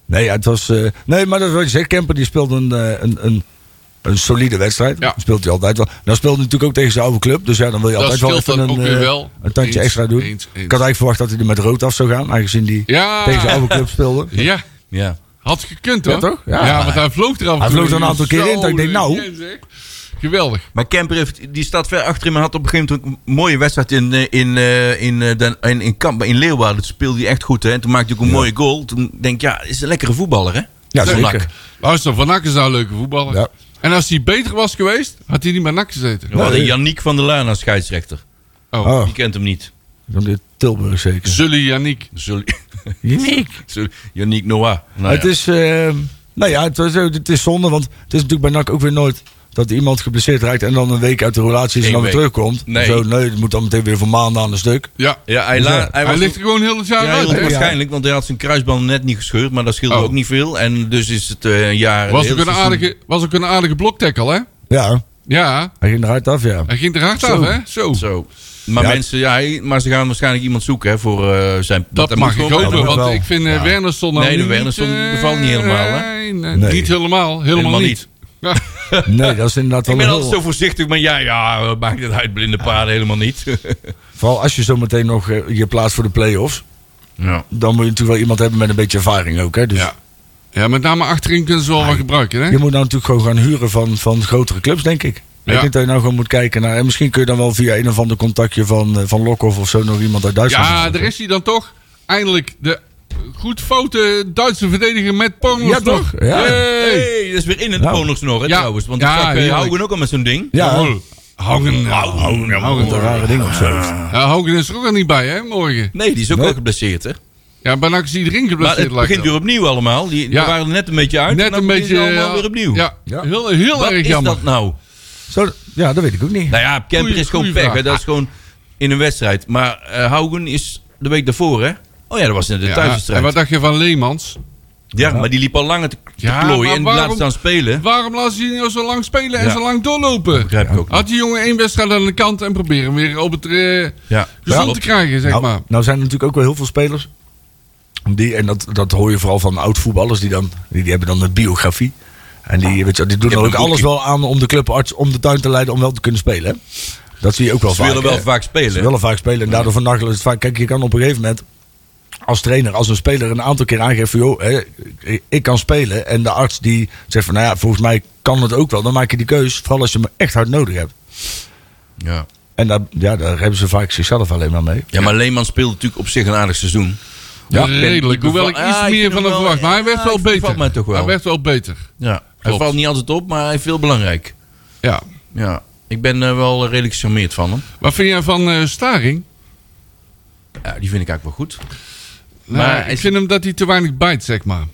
Nee, ja, het was, eh, nee, maar dat is wat je zegt. Kemper die speelde een, eh, een, een, een solide wedstrijd. Ja. Dat Speelt hij altijd wel. Dan speelde hij natuurlijk ook tegen zijn oude club. Dus ja, dan wil je Dat altijd wel scheelt even dan een, ook weer eh, wel. een tandje Eens, extra doen. eens, eens. Ik had eigenlijk verwacht dat hij er met rood af zou gaan. Aangezien hij Ja. tegen zijn oude club speelde. Ja, Ja. had gekund hoor. Ja, toch? Ja. Ja, want hij vloog er af en Hij toe vloog er een aantal keer Zo, in, dat ik denk, nou. ja, zeg. Geweldig. Maar Kemper heeft, die staat ver achter hem. Hij had op een gegeven moment een mooie wedstrijd in, eh, in, eh, in, eh, Den- in, in, Kamp, in Leeuwarden. Toen speelde hij echt goed. Hè? En toen maakte hij ook een mooie goal. Toen denk ik, ja, is een lekkere voetballer. Hè? Ja, Zo'n zeker. nak. Luister, Van Akker is nou een leuke voetballer. Ja. En als hij beter was geweest, had hij niet bij NAC gezeten. We hadden Yannick van der Laan als scheidsrechter. Oh. Oh, Die kent hem niet. dan dit Tilburg zeker. Zully Yannick. Zul- Uniek. Zul- Yannick Noah. Nou het ehm, ja. is, eh, nou ja, het, was, ook- het is zonde, want het is natuurlijk bij NAC ook weer nooit dat iemand geblesseerd raakt en dan een week uit de relatie is Eén en dan weer week. terugkomt. Nee. Zo, nee, dat moet dan meteen weer voor maanden aan een stuk. Ja. Ja, hij, la- hij, Hij was ligt er gewoon heel het jaar Ja, heel uit. hè? waarschijnlijk, want hij had zijn kruisband net niet gescheurd, maar dat scheelde Oh. ook niet veel. En dus is het eh, een jaar. Was heel ook, een seizoen- aardige, was ook een aardige bloktackle, hè? Ja, Ja, hij ging eruit af, ja. hij ging er hard af, hè? Zo. Zo. Maar Ja. mensen, ja, hij- maar ze gaan waarschijnlijk iemand zoeken hè, voor eh, zijn. Dat, hij mag moet ik gewoon- hopen, dat want wel. ik vind eh, Ja. Wernersson nou Nee, de niet, Wernersson eh, bevalt niet helemaal, hè? nee, nee, Nee. Niet helemaal, helemaal, Helemaal niet. Ja. Nee, dat is inderdaad wel Ik ben een altijd zo heel- voorzichtig, maar ja, ja, eh, maakt het uit, blinde paarden helemaal niet. Vooral als je zo meteen nog eh, je plaats voor de play-offs. ja. Dan moet je natuurlijk wel iemand hebben met een beetje ervaring ook. Hè? Dus Ja. ja, met name achterin kunnen ze wel wat gebruiken, hè? Je moet nou natuurlijk gewoon gaan huren van, van grotere clubs, denk ik. Ja. Ik denk dat je nou gewoon moet kijken naar... En misschien kun je dan wel via een of ander contactje van, eh, van Lokhoff of zo nog iemand uit Duitsland... Ja, zoeken. daar is hij dan toch. Eindelijk de goed foute Duitse verdediger met Pornos Ja, toch? Ja. Hey. Hey, dat is weer in het Nou. bonus nog, hè, Ja. trouwens. Want Ja, ja, ik heerlijk. houden ook al met zo'n ding. Ja, Oh, Haugen, Haugen, Ja, dat is een rare ding of zo. Ja, Haugen is er ook al niet bij, hè, morgen. Nee, die is ook Nee. wel geblesseerd, hè? Ja, bijna is iedereen Maar geblesseerd. het lijkt begint weer wel. opnieuw allemaal. Die, die Ja. waren er net een beetje uit. en Net dan een beetje... beginnen ze allemaal ja, weer opnieuw. Ja, Ja. heel, heel Wat erg is jammer. dat nou? Zo, ja, dat weet ik ook niet. Nou ja, Kemper Goeie- is gewoon goeie pech. vraag. Hè? Dat is gewoon in een wedstrijd. Maar eh Haugen is de week daarvoor, hè? Oh ja, dat was in de Ja, thuiswedstrijd. en wat dacht je van Leemans? Ja, maar die liep al langer te, te Ja, klooien maar en waarom- laat staan spelen. Waarom laat ze die nou zo lang spelen en Ja. zo lang doorlopen? Begrijp ik ook niet. Had die jongen één wedstrijd aan de kant en proberen hem weer op het eh, Ja, gezond klopt. te krijgen, zeg nou, maar. nou zijn er natuurlijk ook wel heel veel spelers. Die, en dat, dat hoor je vooral van oud-voetballers. Die, dan, die, die hebben dan een biografie. En die, weet je, wel, die doen er hebt ook een alles boekje. wel aan om de clubarts om de tuin te leiden om wel te kunnen spelen. Hè? Dat zie je ook wel Ze vaak. willen wel hè. vaak Ze spelen. willen vaak spelen. En daardoor vernachelen ze het vaak. Kijk, je kan op een gegeven moment als trainer, als een speler een aantal keer aangeven van... joh, hè, ik- ik kan spelen. En de arts die zegt van, nou ja, volgens mij kan het ook wel. Dan maak je die keus, vooral als je hem echt hard nodig hebt. Ja. En daar, ja, daar hebben ze vaak zichzelf alleen maar mee. ja, maar Leeman speelde natuurlijk op zich een aardig seizoen. Ja, Ik ben- redelijk. Hoewel ik beval- iets Ah, ik meer vind van hem hem wel- verwacht. Maar hij werd ah, wel ik bevalt beter. mij toch wel. Hij werd wel beter. Ja. Hij Klopt. valt niet altijd op, maar hij is veel belangrijk. Ja. Ja. Ik ben eh, wel redelijk gecharmeerd van hem. Wat vind jij van eh, Staring? Ja, die vind ik eigenlijk wel goed. Nou, Maar ik is- vind hem dat hij te weinig bijt, zeg maar.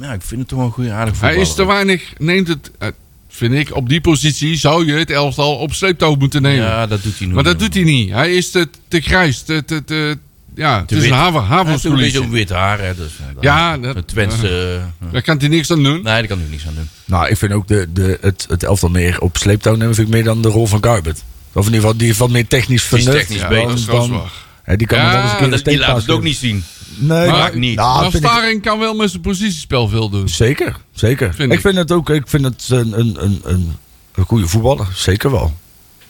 Ja, ik vind het toch wel een goede aardige Hij voetballer. is te weinig, neemt het, eh, vind ik, op die positie zou je het elftal op sleeptouw moeten nemen. Ja, dat doet hij nu. maar dat doet hij niet. Hij is te, te grijs, te, te, te- ja, het is wit. een haven, Hij heeft ook een beetje een havenspolitie. wit haar. Hè, dus, eh, Ja, dat, dat- Twente, eh, Daar kan hij niks aan doen. nee, daar kan ik niks aan doen. Nou, ik vind ook de, de, het, het elftal meer op sleeptouw nemen... vind ik meer dan de rol van Garbert. Of in ieder geval, die is wat meer technisch is vernuft. technisch dan- beter, dat is wel dan, zwaar. hè, die kan Ja, dan wel eens een keer maar een Dat, die laat steekpaas het ook geven. niet zien. Nee, Maar- dat- niet. nou, Maar vind ik- Staring kan wel met zijn positiespel veel doen. Zeker, zeker. Vind ik, ik. vind het ook ik vind het een, een, een, een, een goede voetballer. Zeker wel.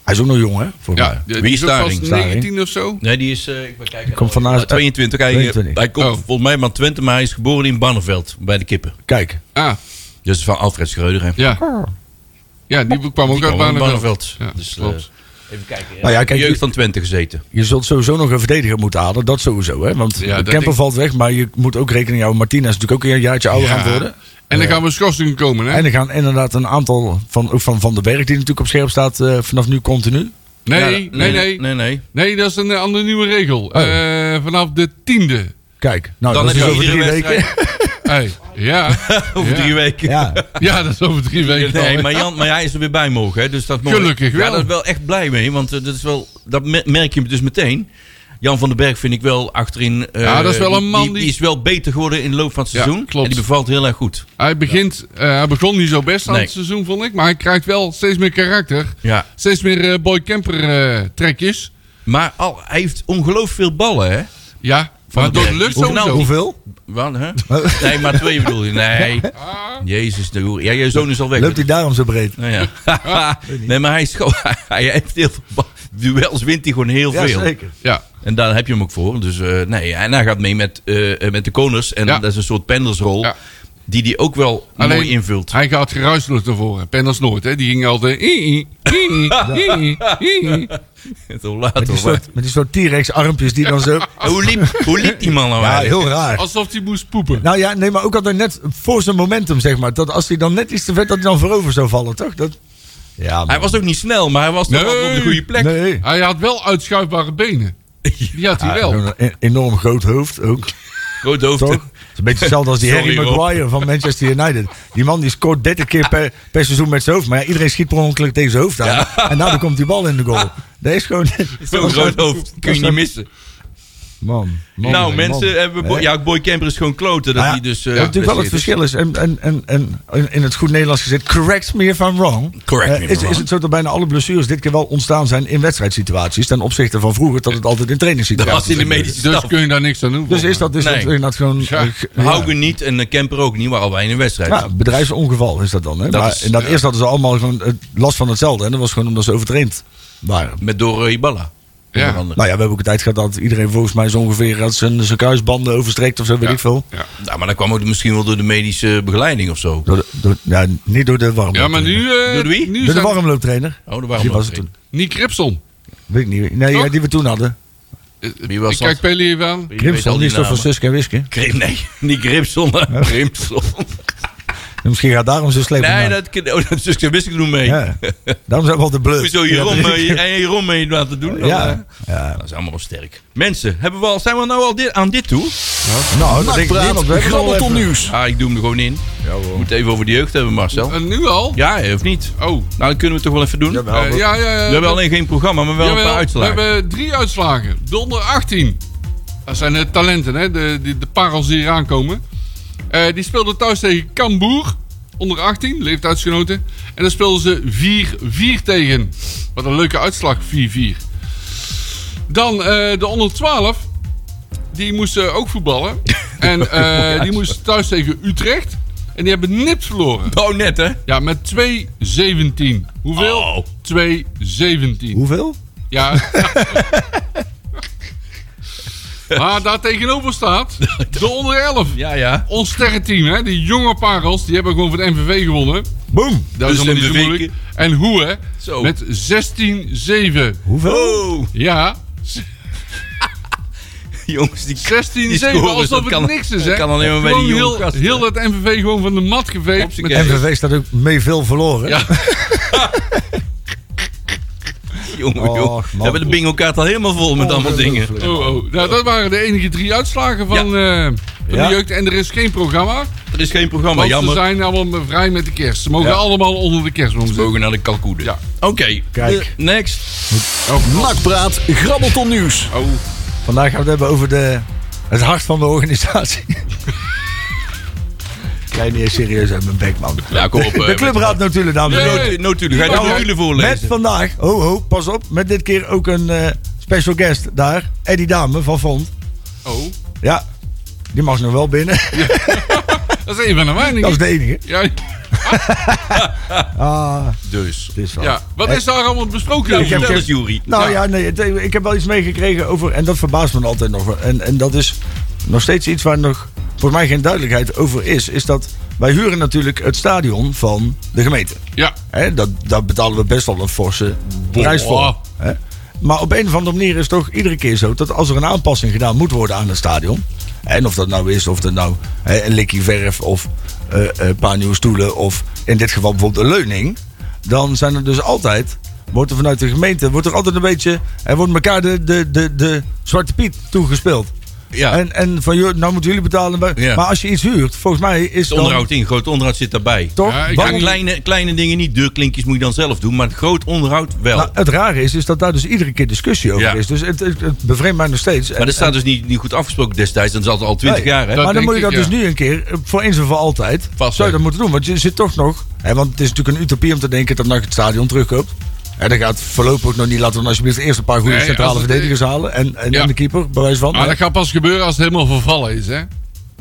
Hij is ook nog jong, hè? Voor mij. Ja, die- die is ook vast Staring? Staring? 19 of zo. Nee, die is... eh, ik ben kijken. komt van Ah, naast- 22. Hij, 22. hij komt Oh. volgens mij van Twente, maar hij is geboren in Barneveld. Bij de kippen. Kijk. Ah, Dus van Alfred Schreuder. Hè. ja. Ja, die kwam ook Die uit kwam in Barneveld. Ja, Barneveld. Dus, eh, klopt. even kijken. Nou ja, kijk, jeugd je, van Twente gezeten. je zult sowieso nog een verdediger moeten halen. Dat sowieso, hè? Want Ja, dat Kemper denk- valt weg, maar je moet ook rekening houden. Martina is natuurlijk ook een jaartje ouder Ja. Oh, gaan worden. En dan gaan we schorsingen komen, hè? En er gaan inderdaad een aantal van, ook van Van den Berg, die natuurlijk op scherp staat eh, vanaf nu continu. Nee, Ja, nee, nee. nee, Oh. nee. Nee, dat is een eh, andere nieuwe regel. Eh, vanaf de tiende. Kijk, nou, Dan dat is heb dus je over drie iedere weken. wedstrijd Hey, ja. over Ja. drie weken. Ja, ja, dat is over drie weken. al. Nee, maar, Jan, maar hij is er weer bij mogen. Hè? Dus dat mooi. Gelukkig wel. Ja, daar is wel echt blij mee. Want eh, dat, is wel, dat me- merk je dus meteen. Jan van den Berg vind ik wel achterin. eh, Ja, dat is wel een man die- die... is wel beter geworden in de loop van het Ja, seizoen. klopt. En die bevalt heel erg goed. Hij, begint, eh, hij begon niet zo best aan Nee. het seizoen, vond ik. Maar hij krijgt wel steeds meer karakter. Ja. Steeds meer eh, Boy Camper eh, trekjes. Maar al, hij heeft ongelooflijk veel ballen, hè? Ja, Van maar de dat Berg. lukt Hoe sowieso. nou? hoeveel? Wat, hè? Nee, maar twee bedoel je. Nee. Jezus, de hoer. Ja, je zoon is al weg. Loopt hij daarom zo breed? Nou ja. nee, maar hij, is gewoon, hij heeft heel veel ballen. Duels wint hij gewoon heel Ja, veel. zeker. Ja, En daar heb je hem ook voor. Dus eh, nee, en hij gaat mee met, eh, eh, met de koners. En Ja. dat is een soort pendersrol. Ja. Die die ook wel Alleen- mooi invult. hij gaat geruisloos naar voren. Pendels nooit, hè. Die ging altijd... "Ii, ii, ii, ii, ii." Hoe laat Met die of wat? soort- met die soort T-Rex armpjes die dan zo... Hoe liep, hoe liep die man nou Ja, eigenlijk? heel raar. Alsof hij moest poepen. Nou ja, nee, maar ook altijd net voor zijn momentum, zeg maar. Dat als hij dan net iets te vet, dat hij dan voorover zou vallen, toch? Dat... Ja, man. Hij was ook niet snel, maar hij was toch Nee. wel op de goede plek. Ah, Nee. Hij had wel uitschuifbare benen. Die had hij Hij had wel. Een e- enorm groot hoofd ook. Groot hoofd. Toch? een beetje hetzelfde als die Sorry, Harry Rob. Maguire van Manchester United. Die man die scoort 30 keer per, per seizoen met zijn hoofd. Maar ja, iedereen schiet per ongeluk tegen zijn hoofd aan. En daardoor komt die bal in de goal. Dat is gewoon... Zo'n groot hoofd. Kun je niet missen. Man, man, nou, man. mensen hebben... Bo- Hè? ja, Boy Camper is gewoon kloten. Dat Nou ja, hij dus... eh, wat natuurlijk wel het geblesseerd verschil is, en, en, en, en in het goed Nederlands gezegd, correct me if I'm wrong. Correct me Eh, if I'm is, wrong. is het zo dat bijna alle blessures dit keer wel ontstaan zijn in wedstrijdsituaties ten opzichte van vroeger, dat het altijd in Dat was trainingssituaties in de gebeurde? medische Dus staf. kun je daar niks aan doen. Dus is dat, is Nee. dat inderdaad gewoon... Ja, eh, ge- Haugen niet en eh, Kemper ook niet, maar al wij in een wedstrijd. Ja, Nou, bedrijfsongeval is dat dan. Hè? Dat maar is- in dat ja. eerst hadden ze allemaal gewoon eh, last van hetzelfde. En dat was gewoon omdat ze overtraind waren. Met door eh, Hiballa. Ja. Onder andere. Nou ja, we hebben ook een tijd gehad dat iedereen volgens mij zo ongeveer had zijn, zijn kruisbanden overstrekt of zo, weet Ja. ik veel. Ja. Nou, maar dat kwam ook misschien wel door de medische begeleiding of zo. Oh, Door de- door- ja, niet door de warmlooptrainer. Ja, maar nu... eh, Door wie? Nu Door de zijn- warmlooptrainer. Oh, de Die was warmloop. het toen. Niet Kripson. Weet ik niet. Nee, Toch? ja, die we toen hadden. Wie was Ik kijk dat? Peli even aan. Je weet al Grimsel, die is toch van namen. Suske en Wiske? Grim, nee, niet Grimson, maar Grimson. Misschien gaat daarom zo slecht. Nee, vandaan. dat, kan- oh, dat dus wist ik doen mee. Ja. Daarom zijn we altijd bleu. Nou, Hoezo Jeroen, eh, je- en Jeroen mee laten doen? dan, eh. Ja. ja. Dat is allemaal wel sterk. Mensen, hebben we al, zijn we nou al dit, aan dit toe? Nou, dat denk ik niet, Nakpraat, want we hebben het al grabbelton even- nieuws. Ah, ik doe hem er gewoon in. We moeten even over de jeugd hebben, Marcel. En Eh, nu al? Ja, hè, of niet? Oh. Nou, dat kunnen we toch wel even doen. Jawel. Eh, ja, ja, ja. We hebben alleen geen programma, maar wel een Jawel, paar uitslagen. We hebben drie uitslagen. Donder 18. Dat zijn de talenten, hè? De, de, de parels die eraan komen. Eh, die speelden thuis tegen Cambuur. Onder 18, leeftijdsgenoten. En daar speelden ze 4-4 tegen. Wat een leuke uitslag, 4-4. Dan eh, de onder 12. Die moesten ook voetballen. En eh, die moesten thuis tegen Utrecht. En die hebben nipt verloren. Oh, net hè? Ja, met 2-17. Hoeveel? Oh. 2-17. Hoeveel? Ja. maar daar tegenover staat de onder 11. Ja, ja. Ons sterrenteam, hè, die jonge parels, die hebben gewoon van de MVV gewonnen. Boom. Dat Dus is helemaal niet zo MVV moeilijk. En hoe, hè? Zo. Met 16-7. Hoeveel? Oh, Ja, jongens, die 16-7. scoren, Alsof dat het kan- niks is, hè? dat kan alleen maar bij Gewoon die jonge heel, gasten. heel dat MVV gewoon van de mat geveegd. Hopsakee. Met- MVV staat ook mee veel verloren. Ja. jongen, Och, jongen. man. We hebben de bingo kaart al helemaal vol met allemaal dingen. Oh, oh. Nou, dat waren de enige drie uitslagen van, eh, van Ja. de jeugd. En er is geen programma. Er is geen programma, Want ze jammer. zijn allemaal vrij met de kerst. Ze mogen Ja. allemaal onder de kerstboom We zitten. mogen naar de kalkoenen. Ja. Oké, Kijk. de- next. Nakpraat, grabbelton nieuws. Oh. Vandaag gaan we het hebben over de, het hart van de organisatie. Klein niet eens serieus uit mijn bek, man. Ja, kom op. eh, De clubraad natuurlijk, dames en Nee. heren. Notu- Notulen, ga je de Nou, notulen Met voorlezen? vandaag, ho ho, pas op, met dit keer ook een eh, special guest daar. Eddie Dame van Vond. Oh, Ja, die mag nog wel binnen. dat is een van de weinigen. Dat is de enige. Ja, Ah, Dus. het is wel. ja. Wat Eh, is daar allemaal besproken? Nou, ik heb vertel geen- eens, Jury. Nou ja, nee, het- ik heb wel iets meegekregen over, en dat verbaast me altijd nog. wel. En, en dat is nog steeds iets waar nog voor mij geen duidelijkheid over is. Is dat wij huren natuurlijk het stadion van de gemeente. Ja, Hè, dat, daar betalen we best wel een forse prijs voor. Hè? Maar op een of andere manier is het toch iedere keer zo dat als er een aanpassing gedaan moet worden aan het stadion. En of dat nou is, of dat nou hè, een likkie verf of eh, een paar nieuwe stoelen of in dit geval bijvoorbeeld een leuning. Dan zijn er dus altijd, wordt er vanuit de gemeente, wordt er altijd een beetje, er wordt elkaar de, de, de, de zwarte piet toegespeeld. Ja. En, en van, joh, nou moeten jullie betalen. Ja. Maar als je iets huurt, volgens mij is Het dan... onderhoud in, groot onderhoud zit daarbij. Toch? Ja, ik Ja, Waarom- kleine, kleine dingen niet, deurklinkjes moet je dan zelf doen, maar het groot onderhoud wel. Nou, het rare is, is dat daar dus iedere keer discussie over Ja. is. Dus het, het, het bevreemdt mij nog steeds. En- maar dat staat dus niet, niet goed afgesproken destijds, dan zat al twintig eh, Nee. jaar hè? Dat- maar dan denk moet je dat ik, dus ja. nu een keer, eh, voor eens en voor altijd, Vast zou je dat leggen. moeten doen. Want je zit toch nog, hè, want het is natuurlijk een utopie om te denken dat NAC het stadion terugkoopt. En dat gaat voorlopig ook nog niet laten, we dan alsjeblieft eerst een paar goede Nee, centrale als het- verdedigers halen. En, en, Ja. en de keeper, bij wijze van. maar dat gaat pas gebeuren als het helemaal vervallen is, hè?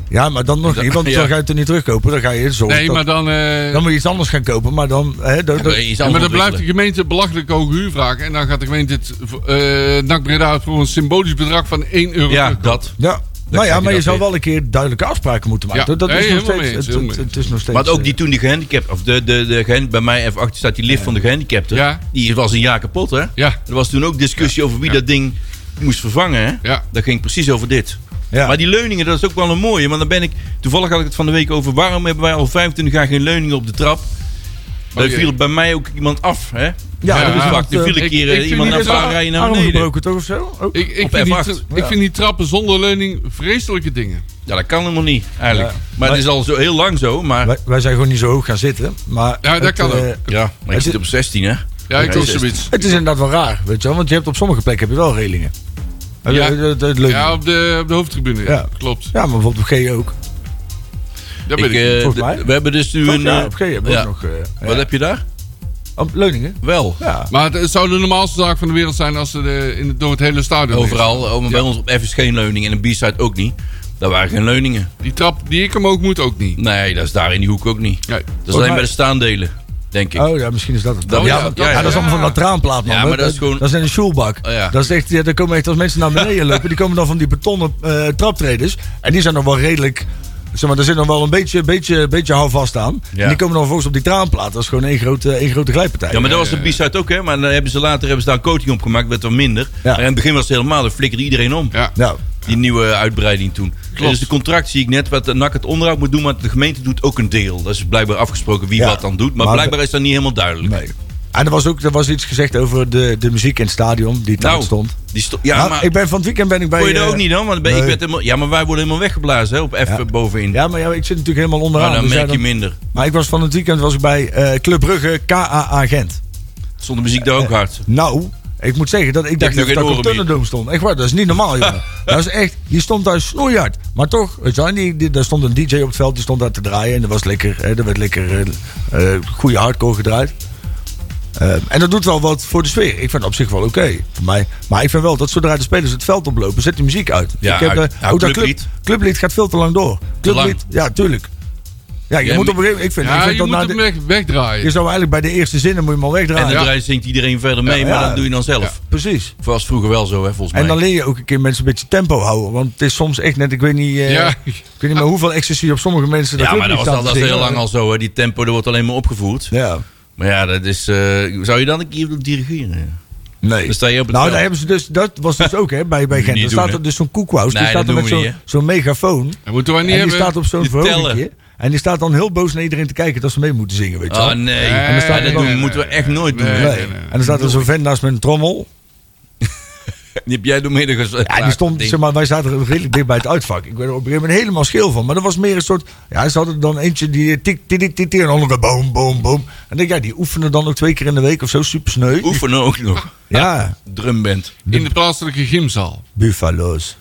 ja, maar dan nog niet, want Ja. dan ga je het er niet terugkopen. Dan ga je zorgen Nee, dat- maar dan... eh, dan moet je iets anders gaan kopen. Maar dan, hè, dat- dat- Ja, iets maar anders dan blijft de ontwikkelen. gemeente belachelijk hoge huur vragen. En dan gaat de gemeente het eh NAC Breda voor een symbolisch bedrag van 1 euro. Ja, terugkopen. dat. ja. krijg Nou je ja, maar je dat zou weer. wel een keer duidelijke afspraken moeten maken. Ja. Dat Nee, is nog helemaal steeds. mee eens, het- helemaal het- mee het is nog steeds, Maar ook die eh, toen die gehandicapt, of de, de, de gehan- bij mij even achter staat die lift van de gehandicapten. Ja. Die was een jaar kapot, hè? Ja. Er was toen ook discussie over wie dat ding moest vervangen, hè? Ja. Dat ging precies over dit. eh, Ja. Maar die leuningen, dat is ook wel een mooie. Want dan ben ik, toevallig had ik het van de week over, waarom hebben wij al 25 jaar geen leuningen op de trap? Daar Oh, jee. viel bij mij ook iemand af, hè? Ja, dat dat is Er viel een ik- keer ik eh, vind iemand niet naar een dat- paar rijen naar Arm beneden. gebroken toch of zo? Oh. Ik, ik, Op vind die, F8. tra- ik vind die trappen zonder leuning vreselijke dingen. Ja, dat kan helemaal niet, eigenlijk. Ja. Maar het is al zo heel lang zo, maar... Wij, wij zijn gewoon niet zo hoog gaan zitten. Maar Ja, dat het, kan eh, ook. Ja, maar je Het zit is- op 16, hè? Ja, ik Ja, ook zes. zoiets. Het is inderdaad wel raar, weet je wel. Want je hebt op sommige plekken heb je wel relingen. Eh, Ja. eh, eh, eh, leuk. Ja, op de, op de hoofdtribune. Ja. Klopt. Ja, maar bijvoorbeeld op G ook. Dat Ik, weet ik. eh, volgens d- mij. We hebben dus nu Toch? een... ja, eh, op G hebben we ja. ook nog... eh, Wat heb je daar? Op Leuningen? Wel. Ja. Maar het, het zou de normaalste zaak van de wereld zijn als ze de, in, door het hele stadion Overal. Oh, maar Bij ons op F is geen leuning en een B-side ook niet. Daar waren geen leuningen. Die trap die ik hem ook moet, ook niet. Nee, dat is daar in die hoek ook niet. Nee. Dat is alleen mij- bij de staandelen, denk ik. Oh ja, misschien is dat het. Dat- ja, ja, ja, ja, dat is ja. allemaal van dat traanplaat, man. Ja, maar dat is gewoon- Dat is in een schoolbak. Oh, ja. Dat is echt, ja, daar komen echt als mensen naar beneden lopen. Die komen dan van die betonnen eh traptreders. En die zijn nog wel redelijk... Zeg maar, daar zit nog wel een beetje, beetje, beetje houvast aan. Ja. En die komen dan volgens op die traanplaat. Dat is gewoon één grote, één grote glijpartij. Ja, maar dat was de B-side ook, hè? Maar dan hebben ze later hebben ze daar een coating op gemaakt, werd er minder. Ja. Maar in het begin was het helemaal, dan flikkerde iedereen om. Ja. Nou, Die nieuwe uitbreiding toen. Dus de contract zie ik net wat de NAC het onderhoud moet doen, maar de gemeente doet ook een deel. Dat is blijkbaar afgesproken wie Ja. wat dan doet, maar, Maar blijkbaar is dat niet helemaal duidelijk. nee. En er was ook er was iets gezegd over de, de muziek in het stadion. Die daar Nou, stond. Die sto- ja, Nou, maar ik ben van het weekend ben ik bij... vond je dat ook eh, niet dan? Want ben- ik nee. werd helemaal, ja, maar wij worden helemaal weggeblazen hè, op F Ja. bovenin. Ja, maar ja, ik zit natuurlijk helemaal Maar onderaan. dan dus ja, merk je dan- minder. maar ik was van het weekend was ik bij eh Club Brugge KAA Gent. Stond de muziek daar ook hard. Nou, ik moet zeggen dat ik dacht nog geen dat dat op oren meer. Thunderdome stond. Echt waar, dat is niet normaal, jongen. dat is echt, die stond daar snoeihard. Maar toch, weet je wel, en die, die- daar stond een DJ op het veld, die stond daar te draaien. En dat was lekker, hè, er werd lekker eh, eh, goede hardcore gedraaid. Eh, en dat doet wel wat voor de sfeer. Ik vind het op zich wel oké. voor mij. Maar ik vind wel dat zodra de spelers het veld oplopen, zet die muziek uit. Ja, ik heb, eh, uit. Ja, ook dat clublied. clublied gaat veel te lang door. Clublied, ja, tuurlijk. Ja, je Ja, moet op een maar- gegeven moment. Ik vind, ik Ja, vind je dat moet na hem de, weg, wegdraaien. je zou eigenlijk bij de eerste zinnen moet je hem al En wegdraaien. de draait zingt iedereen verder mee, Ja, maar ja. dat doe je dan zelf. Precies. Dat Was vroeger wel zo, hè, volgens mij. En dan leer je ook een keer mensen een beetje tempo houden. Want het is soms echt net, ik weet niet, eh, Ja. ik weet niet meer hoeveel ecstasy op sommige mensen dat ja, maar clublied dat was al staat te dat is heel zingen. lang al zo. Hè. Die tempo dat wordt alleen maar opgevoerd. Ja, Maar ja, dat is. eh, zou je dan een keer op dirigeren? nee. Dan sta je op het nou, veld. daar hebben ze dus, dat was dus ook hè, bij, Moet bij je Gent. niet Er doen, staat hè? er dus zo'n koekwaus, Nee, die staat dat er met doen we zo'n niet, zo'n megafoon. Dat moeten wij En niet die hebben. staat op zo'n Die verhogingje. tellen. En die staat dan heel boos naar iedereen te kijken dat ze mee moeten zingen, weet je Oh wel. nee, Nee, En dan staat- nee, dat doen, nee, moeten we nee, echt nooit doen. nee. Nee. En dan staat er zo'n vent naast met een trommel. Die heb jij doormidden gezet. Ja, die stond, zeg maar, wij zaten redelijk dicht bij het uitvak. Ik werd er op een gegeven moment helemaal scheel van. Maar dat was meer een soort... Ja, ze hadden dan eentje die tik, tik, tik, tik, tik, en dan nog een boom, boom, boom. En ik denk, ja, die oefenen dan ook twee keer in de week of zo. Super sneu. Oefenen ook nog. Ja, Drumband. In de plaatselijke gymzaal. buffalo's.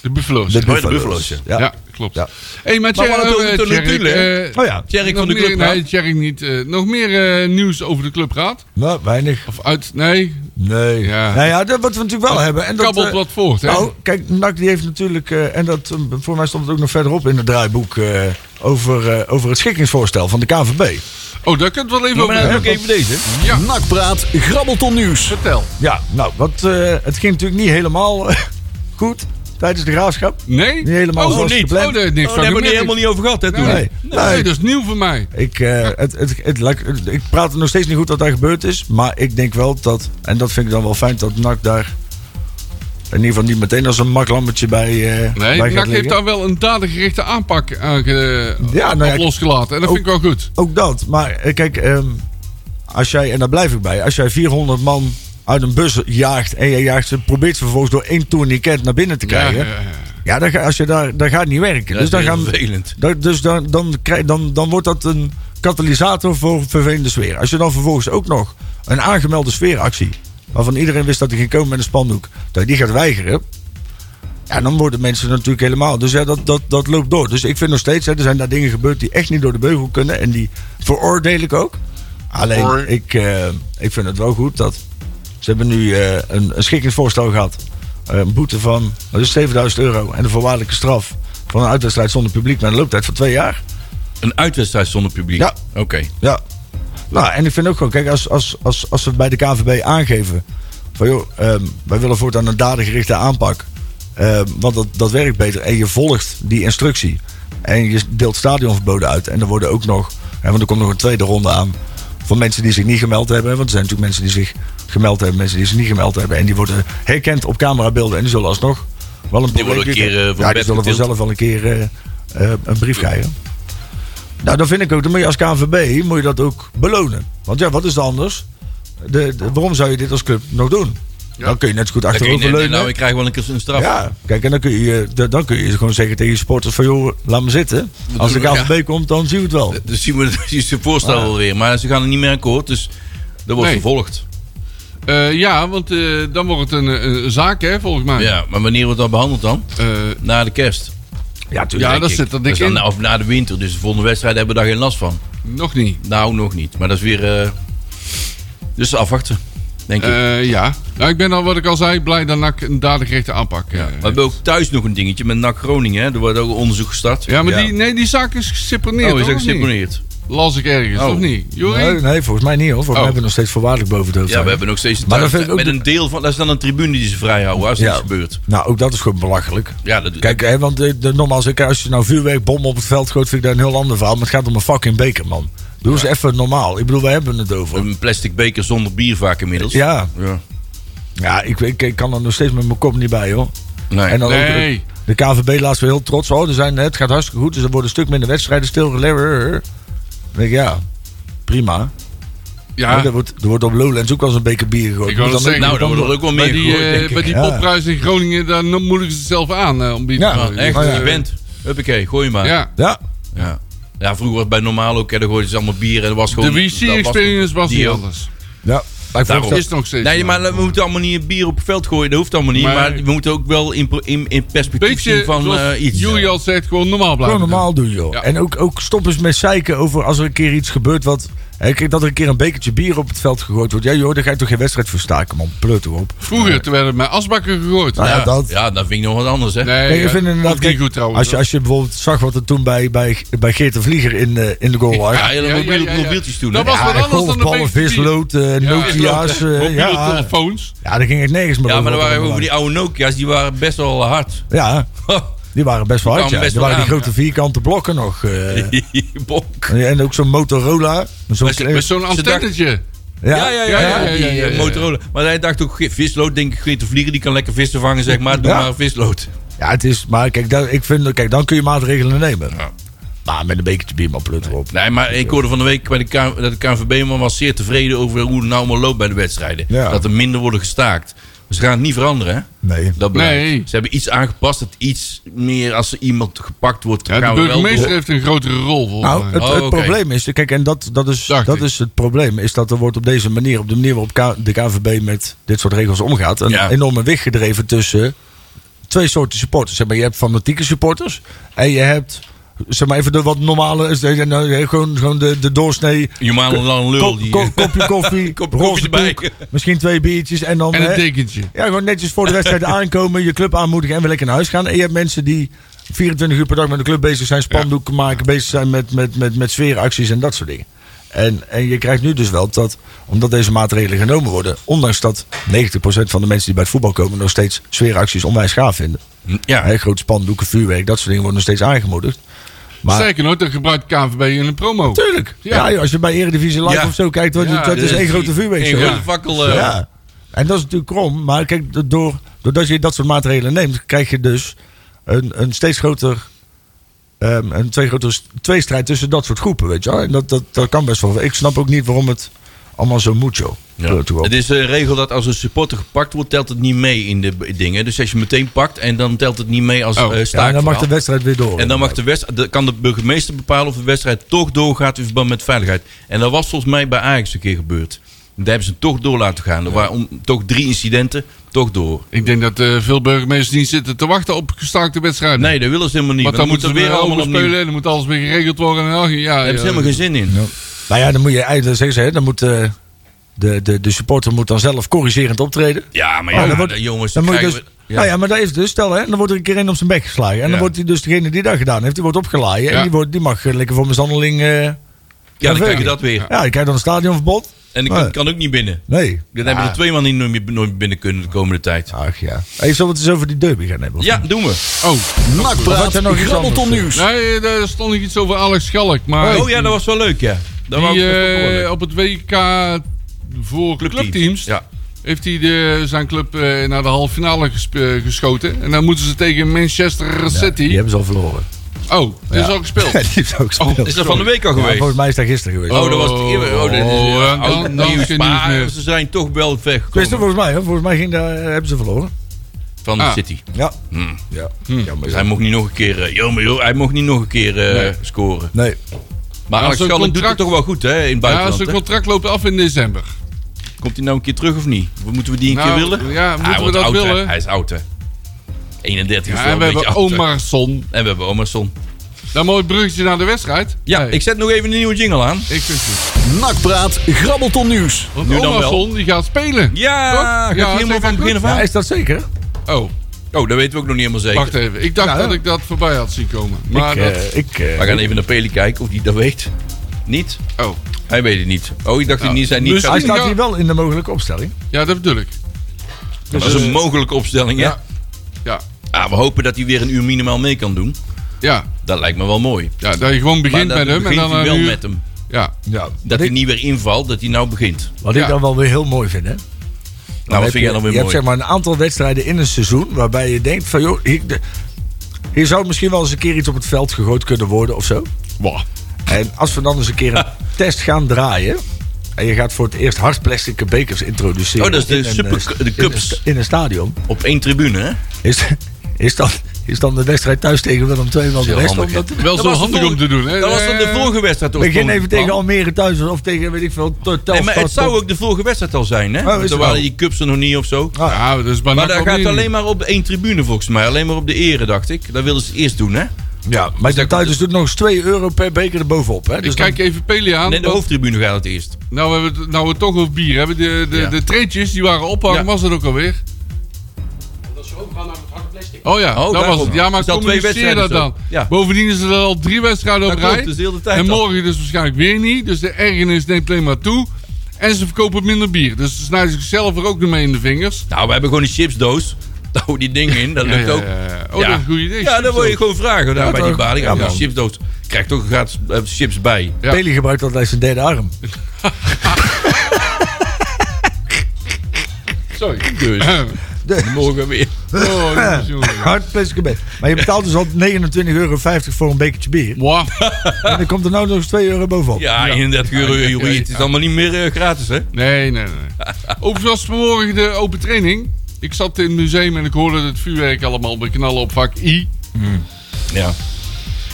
De Buffalo's. De Oh, de buffalo's. Buffalo's, Ja. ja. ja. ja. klopt. Ja. hey, maar Maar we hadden het over de Tjerk, notulen, hè? eh, Oh ja, Tjerk nog van de meer, clubraad. Nee, Tjerk niet. eh, nog meer eh, nieuws over de clubraad? nou, weinig. Of uit... Nee, Nee. Ja. Nou ja, dat wat we natuurlijk wel hebben. En dat, kabbelt eh, wat voort, hè? Nou, kijk, NAC die heeft natuurlijk, eh, en dat, eh, voor mij stond het ook nog verderop in het draaiboek, eh, over, eh, over het schikkingsvoorstel van de KNVB. Oh, daar kunt het wel even Maar over dan ook hebben. even deze. Ja, Nakpraat Grabbelton Nieuws. vertel. Ja, nou, wat, eh, het ging natuurlijk niet helemaal eh, goed tijdens de graafschap. Nee? Niet helemaal Oh, zoals niet. gepland. Oh, daar heb ik Oh, niks van daar hebben we gemerkt. het helemaal niet over gehad, hè, toen. Nee. Nee, Nee. dat is nieuw voor mij. Ik, eh, het, het, het, lijkt- ik praat er nog steeds niet goed wat daar gebeurd is. Maar ik denk wel dat, en dat vind ik dan wel fijn, dat NAC daar in ieder geval niet meteen als een maklammetje bij, eh bij Nee, gaat NAC heeft liggen. daar wel een dadergerichte aanpak aan ge- Ja, nou ja, op losgelaten. En dat vind ik wel goed. Ook dat. Maar eh, kijk, ehm, als jij, en daar blijf ik bij, als jij 400 man uit een bus jaagt en je jaagt ze, probeert ze vervolgens door één tourniquet naar binnen te krijgen. Ja, Ja, ja, ja. dan ga, als je daar, daar gaat niet werken. Dat dus is dan heel gaan, vervelend. Da- dus dan, dan, krijg, dan, dan wordt dat een katalysator voor vervelende sfeer. Als je dan vervolgens ook nog een aangemelde sfeeractie, waarvan iedereen wist dat hij ging komen met een spandoek, dat je die gaat weigeren. Ja, dan worden mensen natuurlijk helemaal. Dus ja, dat, dat, dat loopt door. Dus ik vind nog steeds, hè, er zijn daar dingen gebeurd die echt niet door de beugel kunnen. En die veroordeel ik ook. Alleen, Hoi. ik, eh, ik vind het wel goed dat ze hebben nu eh, een, een schikkingsvoorstel gehad. Eh, Een boete van dat is 7000 euro en een voorwaardelijke straf van een uitwedstrijd zonder publiek met een looptijd van twee jaar. Een uitwedstrijd zonder publiek. Ja. Oké. Ja. Nou, en ik vind ook gewoon, kijk, als, als, als, als we bij de KVB aangeven van joh, ehm, wij willen voortaan een dadergerichte aanpak. ehm, want dat, dat werkt beter. En je volgt die instructie. En je deelt stadionverboden uit. En er worden ook nog, hè, want er komt nog een tweede ronde aan. Van mensen die zich niet gemeld hebben. hè, Want er zijn natuurlijk mensen die zich gemeld hebben, mensen die zich niet gemeld hebben. En die worden herkend op camerabeelden. En die zullen alsnog wel een worden een probleem keer, eh, van Ja, die bed zullen getild. vanzelf wel een keer eh, eh, een brief krijgen. Nou, dat vind ik ook. Dan moet je als KNVB moet je dat ook belonen. Want ja, wat is er anders? De, de- waarom zou je dit als club nog doen? Dan kun je net zo goed Dan kun je achterover niet- leunen. nou, ik krijg wel een keer een straf. Ja, kijk, en dan kun, je, eh, d- dan kun je gewoon zeggen tegen je supporters van... joh, laat me zitten. Als de doen- KNVB komt, dan zien we het wel. Dus zien we het- zien ze het voorstel alweer. Maar ze gaan er niet meer akkoord, dus dat wordt Nee. vervolgd. Eh, ja, want eh, dan wordt het een, eh, een zaak, hè, volgens mij. Ja, maar wanneer wordt dat behandeld dan? Eh, Na de kerst. Ja, tuurlijk. ja denk dat ik. zit er Dat dik is in. dan, of na de winter, dus de volgende wedstrijd hebben we daar geen last van. Nog niet. Nou, nog niet. Maar dat is weer. eh, dus afwachten, denk ik. Eh, ja. Nou, ik ben al, wat ik al zei, blij dat NAC een dadergerichte aanpak eh. Ja. ja. We hebben ook thuis nog een dingetje met NAC Groningen. Hè? Er wordt ook een onderzoek gestart. Ja, maar Ja. Die, nee, die zaak is geseponeerd, Oh, is hoor, dat of niet? geseponeerd? Las ik ergens, Oh. of niet? Jorie? Nee, nee, volgens mij niet hoor. Volgens Oh. mij hebben we nog steeds voorwaardelijk boven dood. Ja, we hebben nog steeds een Maar dat thuis- vind ik ook met de- een deel van. Dat is dan een tribune die ze vrijhouden als Ja. iets gebeurt. Nou, ook dat is gewoon belachelijk. Ja, dat Kijk, hè, want eh, de, normaal als, ik, als je nou vuurwerk, bommen op het veld gooit, vind ik dat een heel ander verhaal. Maar het gaat om een fucking beker, man. Doe eens even normaal. Ik bedoel, we hebben het over. Een plastic beker zonder bier vaak inmiddels. Ja, Ja. ja ik, ik, ik kan er nog steeds met mijn kop niet bij, hoor. Nee. En dan ook, Nee. de KVB laatst weer heel trots. Oh, er zijn, het gaat hartstikke goed, dus er worden een stuk minder wedstrijden stilgelegd. Dan denk ik, ja, prima. Ja, Maar Er, wordt, er wordt op Lowlands ook wel eens een beker bier gegooid. Ik wou Moet dat dan- zeggen. nou, daar wordt er ook wel meer bij die, gegooid, denk eh ik. bij die Ja. popprijs in Groningen, daar no- moedigen ze zelf aan eh, om die Ja, te Ja, gooien. echt, dus Oh, ja. je bent. Huppakee, gooi maar. Ja. Ja, Ja. Ja, vroeger was het bij normaal ook, hè, dan gooiden ze allemaal bier en er was De gewoon... dat was WC-experience was die niet ook. anders. ja. Maar ik Daarom. vond Is nog steeds. Nee, zo. maar we moeten allemaal niet bier op het veld gooien, dat hoeft allemaal niet. Maar- Maar we moeten ook wel in, pro- in, in perspectief Beetje zien van zoals eh, iets. Joeri al zegt, gewoon normaal blijven. Gewoon normaal doen, joh. Ja. En ook, ook stop eens met zeiken over als er een keer iets gebeurt wat... Hè, kijk, dat er een keer een bekertje bier op het veld gegooid wordt. Ja, joh, daar ga je toch geen wedstrijd voor staken, man. Pleut erop. Vroeger, toen werden met asbakken gegooid. Nou, Ja, Ja, ja, dat- dat... vind ik nog wat anders, hè. Nee, Kijk, ik ja, vind inderdaad... ook niet kijk, goed trouwens. als, je, als je bijvoorbeeld zag wat er toen bij, bij, bij Geert de Vlieger in, eh, in de goal was. Ja, Ja, hele Ja, ja, mobiele ja, ja. mobieltjes toen. Dat hè. was ja. wat anders dan de golfballen, bekertje bier. vislood, eh, Nokia's. eh, Mobiele Ah, ja, telefoons. ja, daar ging het nergens meer Ja, maar dan over. waren we over die oude Nokia's, die waren best wel hard. Ja, die waren best wel hard, kwamen ja. best Die wel waren die aan, grote vierkante blokken nog. eh. Bonk. en ook zo'n Motorola. Zo'n Met- klein- Met zo'n Ze dacht- antennetje. Ja, ja, ja, Ja, ja, ja, ja, die ja, eh, ja, ja. Motorola. Maar hij dacht ook, "Ge- vislood, denk ik, Geert de Vlieger, die kan lekker vissen vangen, zeg maar. Doe Ja. maar een vislood. Ja, het is, maar kijk, daar, ik vind, kijk, dan kun je maatregelen nemen. Maar met een bekertje bier, maar plut erop. Nee, maar ik hoorde van de week bij de K- dat de KNVB-man was zeer tevreden over hoe het nou allemaal loopt bij de wedstrijden. Ja. Dat er minder worden gestaakt. Dus Ze gaan het niet veranderen, hè? Nee. Dat blijft. Nee. Ze hebben iets aangepast, dat iets meer als er iemand gepakt wordt, Ja, gaan de we wel burgemeester door. heeft een grotere rol. volgens Nou, mij. het, Oh, het oké. probleem is, kijk, en dat, dat, is, Dacht dat ik. is het probleem, is dat er wordt op deze manier, op de manier waarop K- de KVB met dit soort regels omgaat, een Ja. enorme weg gedreven tussen twee soorten supporters. Zeg maar, je hebt fanatieke supporters en je hebt, zeg maar even de wat normale, is de- nou, gewoon, gewoon de, de doorsnee, Je maalt een lang lul. kop- Die, eh. kop- kopje koffie, Kopje roze koffie erbij. doek, misschien twee biertjes en dan... En hè, een dekentje. Ja, gewoon netjes voor de wedstrijd aankomen, je club aanmoedigen en weer lekker naar huis gaan. En je hebt mensen die 24 uur per dag met de club bezig zijn, spandoeken maken, bezig zijn met, met, met, met sfeeracties en dat soort dingen. En, en je krijgt nu dus wel dat, omdat deze maatregelen genomen worden, ondanks dat 90% van de mensen die bij het voetbal komen nog steeds sfeeracties onwijs gaaf vinden. ja. Hè, grote spandoeken, vuurwerk, dat soort dingen worden nog steeds aangemoedigd. Maar Sterker nog, dat gebruikt KNVB in een promo. tuurlijk, ja. Ja. joh, als je bij Eredivisie Live Ja. of zo kijkt, wat, Ja, dat is Dus één die- grote vuurwerkshow. Een Ja. grote fakkel. eh, Ja. En dat is natuurlijk krom. Maar kijk, do- door, doordat je dat soort maatregelen neemt, krijg je dus een, een steeds groter. ehm, een twee grotere s- tweestrijd tussen dat soort groepen, weet je wel. En dat, dat, dat kan best wel. Ik snap ook niet waarom het allemaal zo moet, joh. Ja. Door- door- Het is een regel dat als een supporter gepakt wordt, telt het niet mee in de b- dingen. Dus als je meteen pakt en dan telt het niet mee als Oh. eh Ja, en staakverhaal. Ja, en dan mag de wedstrijd weer door. En dan mag de wedst- de- kan de burgemeester bepalen of de wedstrijd toch doorgaat in verband met veiligheid. En dat was volgens mij bij Ajax een keer gebeurd. Daar hebben ze het toch door laten gaan. Er waren om- toch drie incidenten, toch door. Ik denk dat eh, veel burgemeesters niet zitten te wachten op gestaakte wedstrijden. Nee, dat willen ze helemaal niet. Want dan, moeten we weer allemaal spelen en dan moet alles weer geregeld worden. En, oh, ja, Daar hebben ze ja. helemaal geen zin in. Nou ja, dan moet je eigenlijk zeggen, ze, hè, dan moet eh, de, de, de supporter moet dan zelf corrigerend optreden. Ja, maar Oh, ja, dan wordt- de jongens, Dan dan moet je krijgen dus, we- Nou ja, maar dat is dus, stel hè, dan wordt er een keer één op zijn bek geslagen. En dan Ja. wordt hij dus degene die dat gedaan heeft, die wordt opgeladen. En Ja. die, wordt, die mag eh, lekker voor mishandeling. eh, ja, dan verder. krijg je dat weer. Ja, ik krijg dan een stadionverbod. En ik Nee. kan, kan ook niet binnen. Nee. Dan hebben er twee man die nooit meer- nooit binnen kunnen de komende tijd. Ach ja. Even zo wat eens over die derby gaan hebben. of Ja, niet? doen we. Oh, Nakpraat, Wat er nog iets grabbelton anders? nieuws. nee, eh, daar stond nog iets over Alex Schalk. Maar Oh ja, dat was wel leuk, ja. Dat die, wou ik echt ook wel eh, leuk. op het WK voor clubteams, Ja. heeft hij de, zijn club eh, naar de halve finale gesp- eh, geschoten. En dan moeten ze tegen Manchester Ja, City. Die hebben ze al verloren. Oh, dat is al gespeeld. Die heeft ook gespeeld. Is dat van de week al Ja, geweest? volgens mij is dat gisteren geweest. Oh, dat was het eerder. Oh, dat is- Oh, ja, dan- oud dan nieuws, is het nieuws maar meer. ze zijn toch wel Gisteren weggekomen volgens mij, hè? volgens mij ging daar, hebben ze verloren. van de Ah. City. Ja. Hmm. Ja. Jammer. Dus hij mocht niet nog een keer... eh, Jammer joh, hij mocht niet nog een keer eh, Nee. scoren. Nee. Maar Ja, Alex zo'n Schalling doet het contract- toch wel goed hè, in het Ja, buitenland. zijn hè? contract loopt af in december. Komt hij nou een keer terug of niet? Moeten we die een Nou, keer willen? ja, moeten hij we wordt dat oud, hè. willen? Hij is oud hè. 31 is Ja, wel en een we beetje hebben oud, hè. Omarsson. En we hebben Omerson. Dan mooi bruggetje naar de wedstrijd. Ja, Nee, ik zet nog even een nieuwe jingle aan. ik vind het. Nakpraat, grabbelton nieuws. Want Nu dan wel. Omarsson, die gaat spelen. Ja, Toch? gaat Ja, helemaal zeg van maar het begin af goed. aan. Ja, is dat zeker? Oh, Oh, dat weten we ook nog niet helemaal zeker. wacht even. Ik dacht Nou, Ja, ja. dat ik dat voorbij had zien komen. Maar Ah, ik, dat... eh, ik, eh, We gaan even naar Peli kijken of hij dat weet. Niet? Oh, Hij weet het niet. Oh, ik dacht dat hij niet, zei niet. dus- gaat- hij Misschien staat wel. hier wel in de mogelijke opstelling. ja, dat bedoel ik. dat is een mogelijke opstelling, hè? Ja. Ja. Ah, we hopen dat hij weer een uur minimaal mee kan doen. Ja, Dat lijkt me wel mooi. ja dat je gewoon begint dat met hem. begint en dan hij een wel uur- met hem. Ja. Ja. Dat Wat, hij ik, niet weer invalt, dat hij nou begint. wat Ja. ik dan wel weer heel mooi vind, hè? Nou, Dan wat heb vind jij dan je weer hebt mooi? zeg maar een aantal wedstrijden in een seizoen waarbij je denkt van joh, hier, de- hier zou misschien wel eens een keer iets op het veld gegooid kunnen worden of zo. Wah. En als we dan eens een keer een test gaan draaien. En je gaat voor het eerst hardplastic bekers introduceren. Oh, dat is de in een, super- eh, st- de in een cups. st- In een stadion. Op één tribune, hè? Is, is, dan, is dan de wedstrijd thuis tegen Willem II wel de heel beste? handig, Omdat, Wel Dat zo was de handig om volgende- te doen. Hè? Dat was dan de Eh, vorige wedstrijd. begin oorspronkelijk even tegen plan. Almere thuis of tegen, weet ik veel, Tel- Nee, maar Telstar, het zou Tot- ook de vorige wedstrijd al zijn, hè? is Want het er wel. waren die cups er nog niet of zo. Ja, dat is Maar bijna daar gaat alleen maar op één tribune, volgens mij. Alleen maar op de ere, dacht ik. Dat wilden ze eerst doen, hè? Ja, maar de Tuiters doet nog eens 2 euro per beker erbovenop. Hè? Ik Dus kijk even Peli aan. Nee, de want- hoofdtribune gaat het eerst. Nou, we hebben het, nou we het toch over bier hebben. De, de, Ja. de treetjes die waren ophangen, Ja. was dat ook alweer? Dat ze ook gaan naar het harde plastic. Oh ja, Oh, dat daarom. was het. Ja, maar Is dat twee communiceer dat wedstrijden dan. zo? Ja. Bovendien is er al drie wedstrijden op Dat klopt, rij. dus de hele tijd en al. morgen dus waarschijnlijk weer niet. Dus de ergernis neemt alleen maar toe. En ze verkopen minder bier. Dus ze snijden zichzelf er ook nog mee in de vingers. Nou, we hebben gewoon een chipsdoos. Daar hou die ding in, dat lukt ja, ook. ja, ja. Oh, dat is een goed idee, Ja, dan wil je chipsdoos. gewoon vragen daar bij die balie. Ja, man. een chipsdoos. Krijgt ook gratis eh, chips bij. Ja. Peli gebruikt dat als zijn derde arm. Sorry. Dus, Dus- morgen weer. Oh, jongens, jongens. Hard plastic beker. Maar je betaalt dus al 29,50 euro voor een bekertje bier. Wow. En dan komt er nou nog eens 2 euro bovenop. Ja, 31 euro, joh, Het is allemaal niet meer eh, gratis, hè? Nee, nee, nee. Overigens was vanmorgen de open training. Ik zat in het museum en ik hoorde het vuurwerk allemaal beknallen op vak I. Hmm. Ja.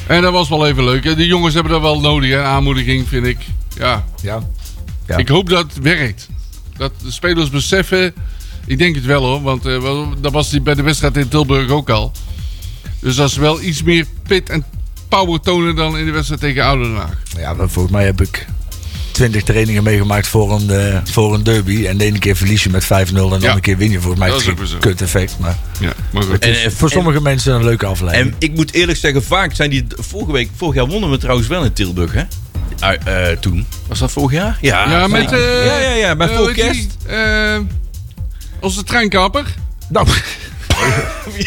En dat was wel even leuk. hè. De jongens hebben dat wel nodig, hè? aanmoediging vind ik. Ja. Ja. Ja. Ik hoop dat het werkt. Dat de spelers beseffen. Ik denk het wel hoor, want eh, wel, dat was die bij de wedstrijd in Tilburg ook al. Dus dat ze wel iets meer pit en power tonen dan in de wedstrijd tegen Oude Den Haag. Ja, maar volgens mij heb ik 20 trainingen meegemaakt voor een, eh, voor een derby. En de ene keer verlies je met 5-0 en de andere keer win je. Volgens mij Dat is is het ook geen weer zo. kut effect. Maar Ja, maar goed. En, eh, voor sommige mensen een leuke en, afleiding. en ik moet eerlijk zeggen, vaak zijn die... Vorige week, vorig jaar wonnen we trouwens wel in Tilburg, hè? Ah, eh, toen. Was dat vorig jaar? Ja. ja, met... eh, Ah, ja, ja, ja, bij eh, voor hoe heet kerst. die? Eh, onze treinkapper. nou,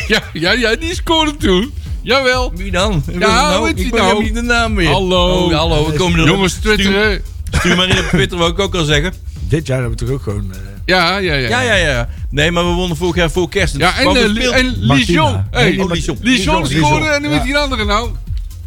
Ja, ja, ja, die scoorde toen. Jawel. Wie dan? Wie Ja, dan? hoe heet ik die ben nou? helemaal niet de naam meer. Hallo. Oh, hallo, we komen er Jongens, stuur- twitteren. Stuur maar in op Twitter, wou ik ook al zeggen. dit jaar hebben we toch ook gewoon... eh, Ja, ja, ja. Ja, ja, ja. Nee, maar we wonnen vorig jaar voor kerst. Ja, en, Wat eh, een Li- beeld. en Martina. Lijon. Nee, Hey, nee, Oh, maar- Lijon. Lijon Lijon. scoorde en nu Ja. weet die andere nou.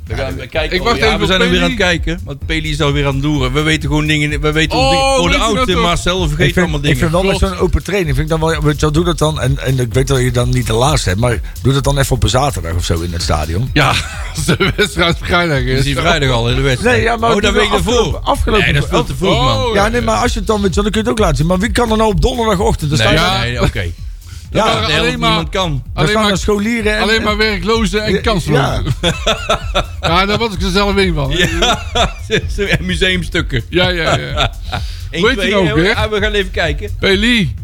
We gaan we kijken. Ik wacht Ja, even we op zijn er weer Peli. aan het kijken. Want Peli is alweer aan het loeren. We weten gewoon dingen. We weten Oh, oh, voor weet de je dat oud ook? Marcel. We Ik vergeten vind, allemaal ik dingen. vind wel met Klopt. zo'n open training, vind ik dan wel, weet je wel, doe dat dan, en, en ik weet dat je dan niet de laatste hebt, maar doe dat dan even op een zaterdag of zo in het stadion. Ja, als de wedstrijd vrijdag Dat is. is die vrijdag al in de wedstrijd. Nee, ja, maar oh, het dat is weet ik wel ervoor. afgelopen- afgelopen- nee, dat is veel te vroeg, man. Oh, Ja, nee, maar als je het dan weet, dan kun je het ook laten zien. Maar wie kan er nou op donderdagochtend? Dan Nee, staan Ja. ja. nee, oké. ja, waren Dat de helft alleen maar- niemand kan. dan Alleen staan er maar, scholieren en... alleen maar werklozen en kanslozen. Ja. daar was ik er zelf een van. hè. Ja, en museumstukken. Ja, ja, ja. Eén, Hoe heet die twee, nou ook hè? weer? Ah, we gaan even kijken. Peli.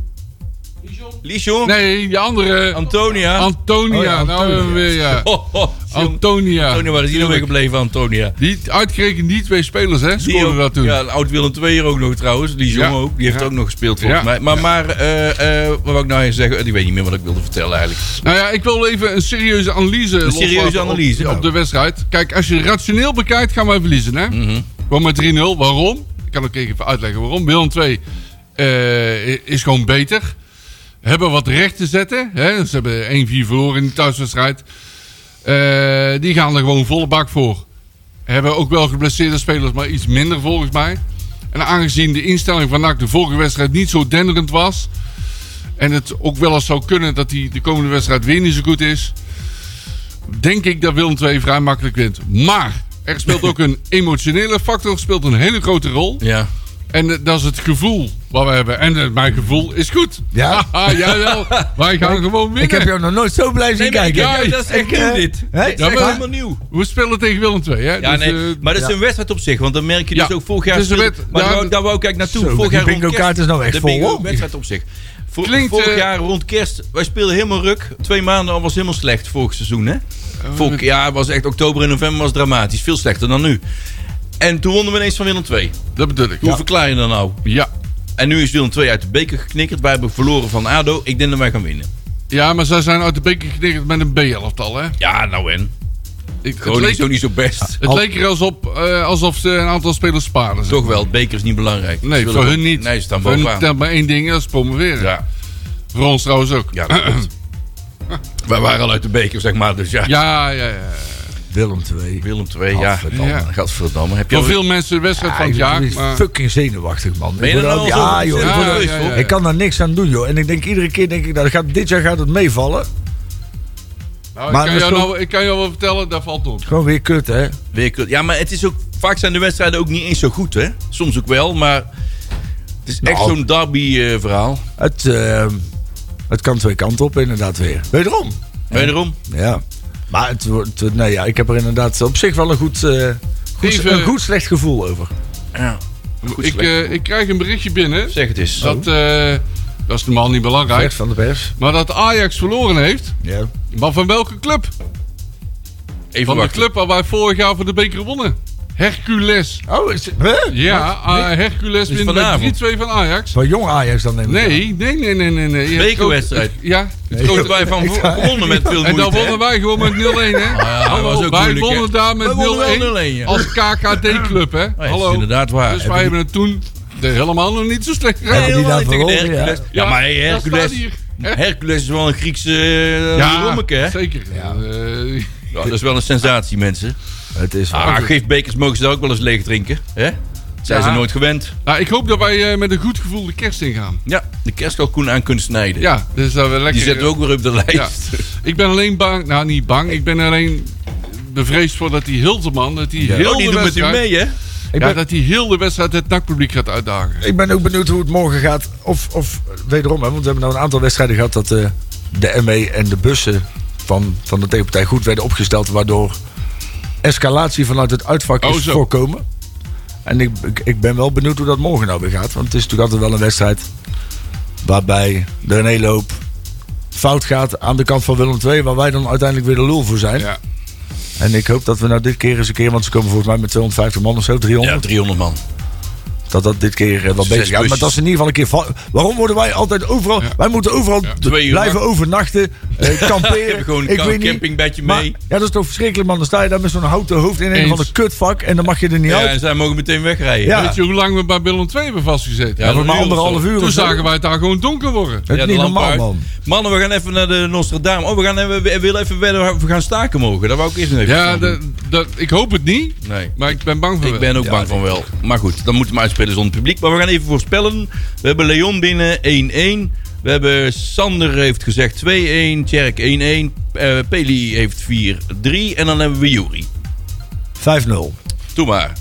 Lichon, Nee, die andere. Antonia. Antonia. Oh ja, Nou, Antonia. hebben we weer, ja. Ho, ho, jong. Antonia. Antonia, waar is die nou weer gebleven, Antonia? Die, uitgerekend die twee spelers, hè? Die Scoorden ook- dat toen. Ja, oud Willem II hier ook nog trouwens. Die jong Ja. ook. Die heeft Ja. ook nog gespeeld volgens Ja. mij. Maar, maar eh, eh, wat wou ik nou eens zeggen? Ik weet niet meer wat ik wilde vertellen eigenlijk. Nou ja, ik wil even een serieuze analyse Een serieuze analyse, op, ja. op de wedstrijd. Kijk, als je rationeel bekijkt, gaan wij verliezen, hè? Mhm. Gewoon met 3-0. Waarom? Ik kan ook even uitleggen waarom. Willem 2 is gewoon beter. Hebben wat recht te zetten. Hè? Ze hebben 1-4 verloren in de thuiswedstrijd. Eh, die gaan er gewoon volle bak voor. Hebben ook wel geblesseerde spelers, maar iets minder volgens mij. En aangezien de instelling van NAC de vorige wedstrijd niet zo denderend was... en het ook wel eens zou kunnen dat die de komende wedstrijd weer niet zo goed is... denk ik dat Willem II vrij makkelijk wint. Maar er speelt ook een emotionele factor, speelt een hele grote rol. Ja. En eh, dat is het gevoel wat we hebben. En eh, mijn gevoel is goed. Ja? Haha, jawel. Wij gaan gewoon winnen. Ik heb jou nog nooit zo blij zien maar ik- kijken. ja, dat is echt Ik, eh, nieuw dit. hè? Dit is Ja, echt maar- helemaal nieuw. We spelen tegen Willem II, hè? Ja, Dus, nee, eh, maar dat is een wedstrijd op zich, want dan merk je dus Ja, ook vorig jaar. het is een speelde- wed- maar ja, daar, wou- d- daar wou ik eigenlijk naartoe. Zo, vorig die jaar rond bingo-kaart kerst- is nou echt de vol, bingo- hoor. wedstrijd op zich. Vo- Klinkt, vorig eh, jaar rond kerst, wij speelden helemaal ruk. Twee maanden al was helemaal slecht vorig seizoen, hè? Oh, Vorig jaar was echt oktober en november was dramatisch, veel slechter dan nu. En toen wonnen we ineens van Willem II. dat bedoel ik. Hoe Ja. verklaar je dat nou? Ja. En nu is Willem II uit de beker geknikkerd. Wij hebben verloren van ADO. Ik denk dat wij gaan winnen. ja, maar zij zijn uit de beker geknikkerd met een B-elftal, hè? Ja, nou en. Ik, het Groningen leek, is ook niet zo best. het leek er alsof, eh, alsof ze een aantal spelers sparen. Toch wel, het beker is niet belangrijk. Ze Nee, willen voor wel- hun niet. Nee, ze staan voor hun bovenaan. telt maar één ding, en dat is promoveren. Ja. Voor ons trouwens ook. Ja, dat klopt. Wij waren al uit de beker, zeg maar. Dus ja, Ja, ja, ja. Willem 2. Willem 2, ja. Gadverdamme. Ja. Gadverdamme. Heb je Voor al- veel mensen de wedstrijd van het jaar. maar- fucking zenuwachtig, man. Ben je Ik er nou word ook- al zo- ja, joh. ik Ja, word ook- ja, ja, ja. Ik kan daar niks aan doen, joh. En ik denk iedere keer, denk ik, nou, dat gaat, dit jaar gaat het meevallen. Nou, Maar ik, kan dat jou is toch- nou, ik kan jou wel vertellen, dat valt op. Gewoon weer kut, hè? Weer kut. Ja, maar het is ook... Vaak zijn de wedstrijden ook niet eens zo goed, hè. Soms ook wel, maar... Het is echt Nou. zo'n eh, derby-verhaal. Het, ehm, het kan twee kanten op, inderdaad, weer. Wederom. Wederom. Ja. Maar het, wordt- het- nee, ja, ik heb er inderdaad op zich wel een goed, eh, goed, Even- een goed slecht gevoel over. Ja. Goed, Ik, slecht. eh, ik krijg een berichtje binnen. zeg Oh. het eens. Dat, eh, dat is normaal niet Recht belangrijk. van de pers. Maar dat Ajax verloren heeft. Ja. Maar van welke club? Even Van de wachten. club waar wij vorig jaar voor de beker wonnen. Hercules. Oh, is, hè? Ja, eh, Hercules Dus wint vanavond? met 3-2 van Ajax. Van jong Ajax dan neem ik aan. Nee, nee, nee, nee, nee. nee. Je hebt Bekerwedstrijd. groot- Ja. het Nee, grote- Hebben wij van vo- gewonnen met veel En moeite, dan wonnen hè? wij gewoon met 0-1, hè? ja, Hallo, was ook wij moeilijk, hè? wonnen daar Wij met wonnen wel 0-1. 0-1, ja. Als KKD-club, hè? dat is Hallo. inderdaad waar. Dus Hebben wij hebben het toen de- helemaal nog niet zo slecht gedaan. Hebben die Helemaal daar niet tegen de verloren, ja. Hercules. Ja, maar hey, dat staat Hercules... hier. Hercules is wel een Griekse eh, rommeke, hè? zeker. Eh, Ja, dat is wel een sensatie, mensen. Het is Ah, gifbekers mogen ze daar ook wel eens leeg drinken. Hè? Zijn Ja. ze nooit gewend. nou, ik hoop dat wij eh, met een goed gevoel de kerst ingaan. Ja, de kerstkalkoen aan kunnen snijden. Ja, dus dat we lekker... Die zetten we ook weer op de Ja. lijst. Ik ben alleen bang... Nou, niet bang. Ik ben alleen bevreesd voor dat die Hilterman... Dat die heel Oh, die de doen met u wedstrijd... mee, hè? Ik Ja, ben- dat die heel de wedstrijd het nakpubliek gaat uitdagen. Ik ben ook benieuwd hoe het morgen gaat. Of, of eh, wederom, hè, want we hebben nou een aantal wedstrijden gehad dat eh, de ME en de bussen van, van de tegenpartij goed werden opgesteld. Waardoor escalatie vanuit het uitvak Oh, is zo. voorkomen. En ik, ik, ik ben wel benieuwd hoe dat morgen nou weer gaat. Want het is natuurlijk altijd wel een wedstrijd waarbij er een hele hoop fout gaat aan de kant van Willem II. Waar wij dan uiteindelijk weer de lul voor zijn. Ja. En ik hoop dat we nou dit keer eens een keer, want ze komen volgens mij met 250 man of zo, 300 Ja, 300 man. dat dat dit keer eh, wel Zes beter gaat. Maar busjes. dat is in ieder geval een keer... va- Waarom worden wij altijd overal... Wij moeten overal d- twee uur blijven overnachten, eh, kamperen. Gewoon een ik ka- weet niet. campingbedje Maar- mee. ja, dat is toch verschrikkelijk, man. Dan sta je daar met zo'n houten hoofd in een Eens. van de kutvak... en dan mag je er niet Ja, uit. en zij mogen meteen wegrijden. Ja. Weet je hoe lang we bij Willem 2 hebben vastgezeten? Ja, Voor maar een uur of anderhalf zo. uur Toen of zo. zagen wij het daar gewoon donker worden. Het is Ja, de niet lamp normaal, uit. man. Mannen, we gaan even naar de Nostradamus. Oh, we, gaan, even- we willen even wedden of we gaan staken mogen. Dat wou ik eerst nog even Ja, snel doen. dat, dat, ik hoop het niet, Nee. maar ik ben bang voor Ik ben ook bang van wel. Maar goed, dan moeten we uitspelen zonder publiek. Maar we gaan even voorspellen. We hebben Leon binnen 1-1. We hebben Sander heeft gezegd 2-1. Tjerk 1-1. eh, Peli heeft 4-3. En dan hebben we Jury. 5-0. Doe maar.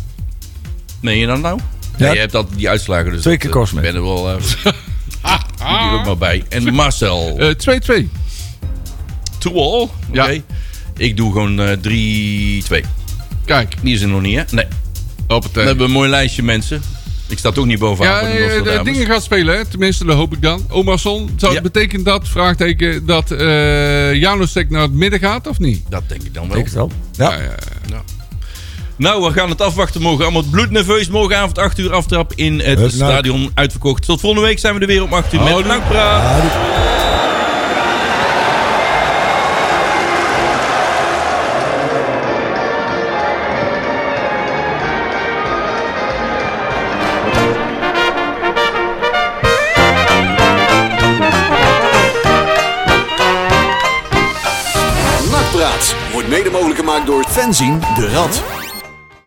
Meen je dat nou? Ja. Ja, je hebt altijd die uitslagen. Dus Twee keer dat, eh, Cosme. Ik ben er wel... eh, moet hier ook maar bij. En Marcel. Eh, 2-2. to all. Oké. ja. Ik doe gewoon eh, 3-2. Kijk, Die is er nog niet, hè? Nee. Dan hoppatee. hebben we een mooi lijstje, mensen. Ik sta toch niet bovenaan ja, voor de eh, de, Nostradamus. dingen gaat spelen, hè? tenminste, dat hoop ik dan. Omarsson, zou het Ja. betekent dat, vraagteken, dat eh Janosek naar het midden gaat of niet? Dat denk ik dan wel. Ik het wel. Ja. Ja, ja. Nou, we gaan het afwachten. Mogen allemaal bloednerveus. Morgenavond 8 uur aftrap in het, Het NAC. stadion uitverkocht. Tot volgende week zijn we er weer om 8 uur met Nakpraat. Nakpraat Praat wordt mede mogelijk gemaakt door fanzine de Rad.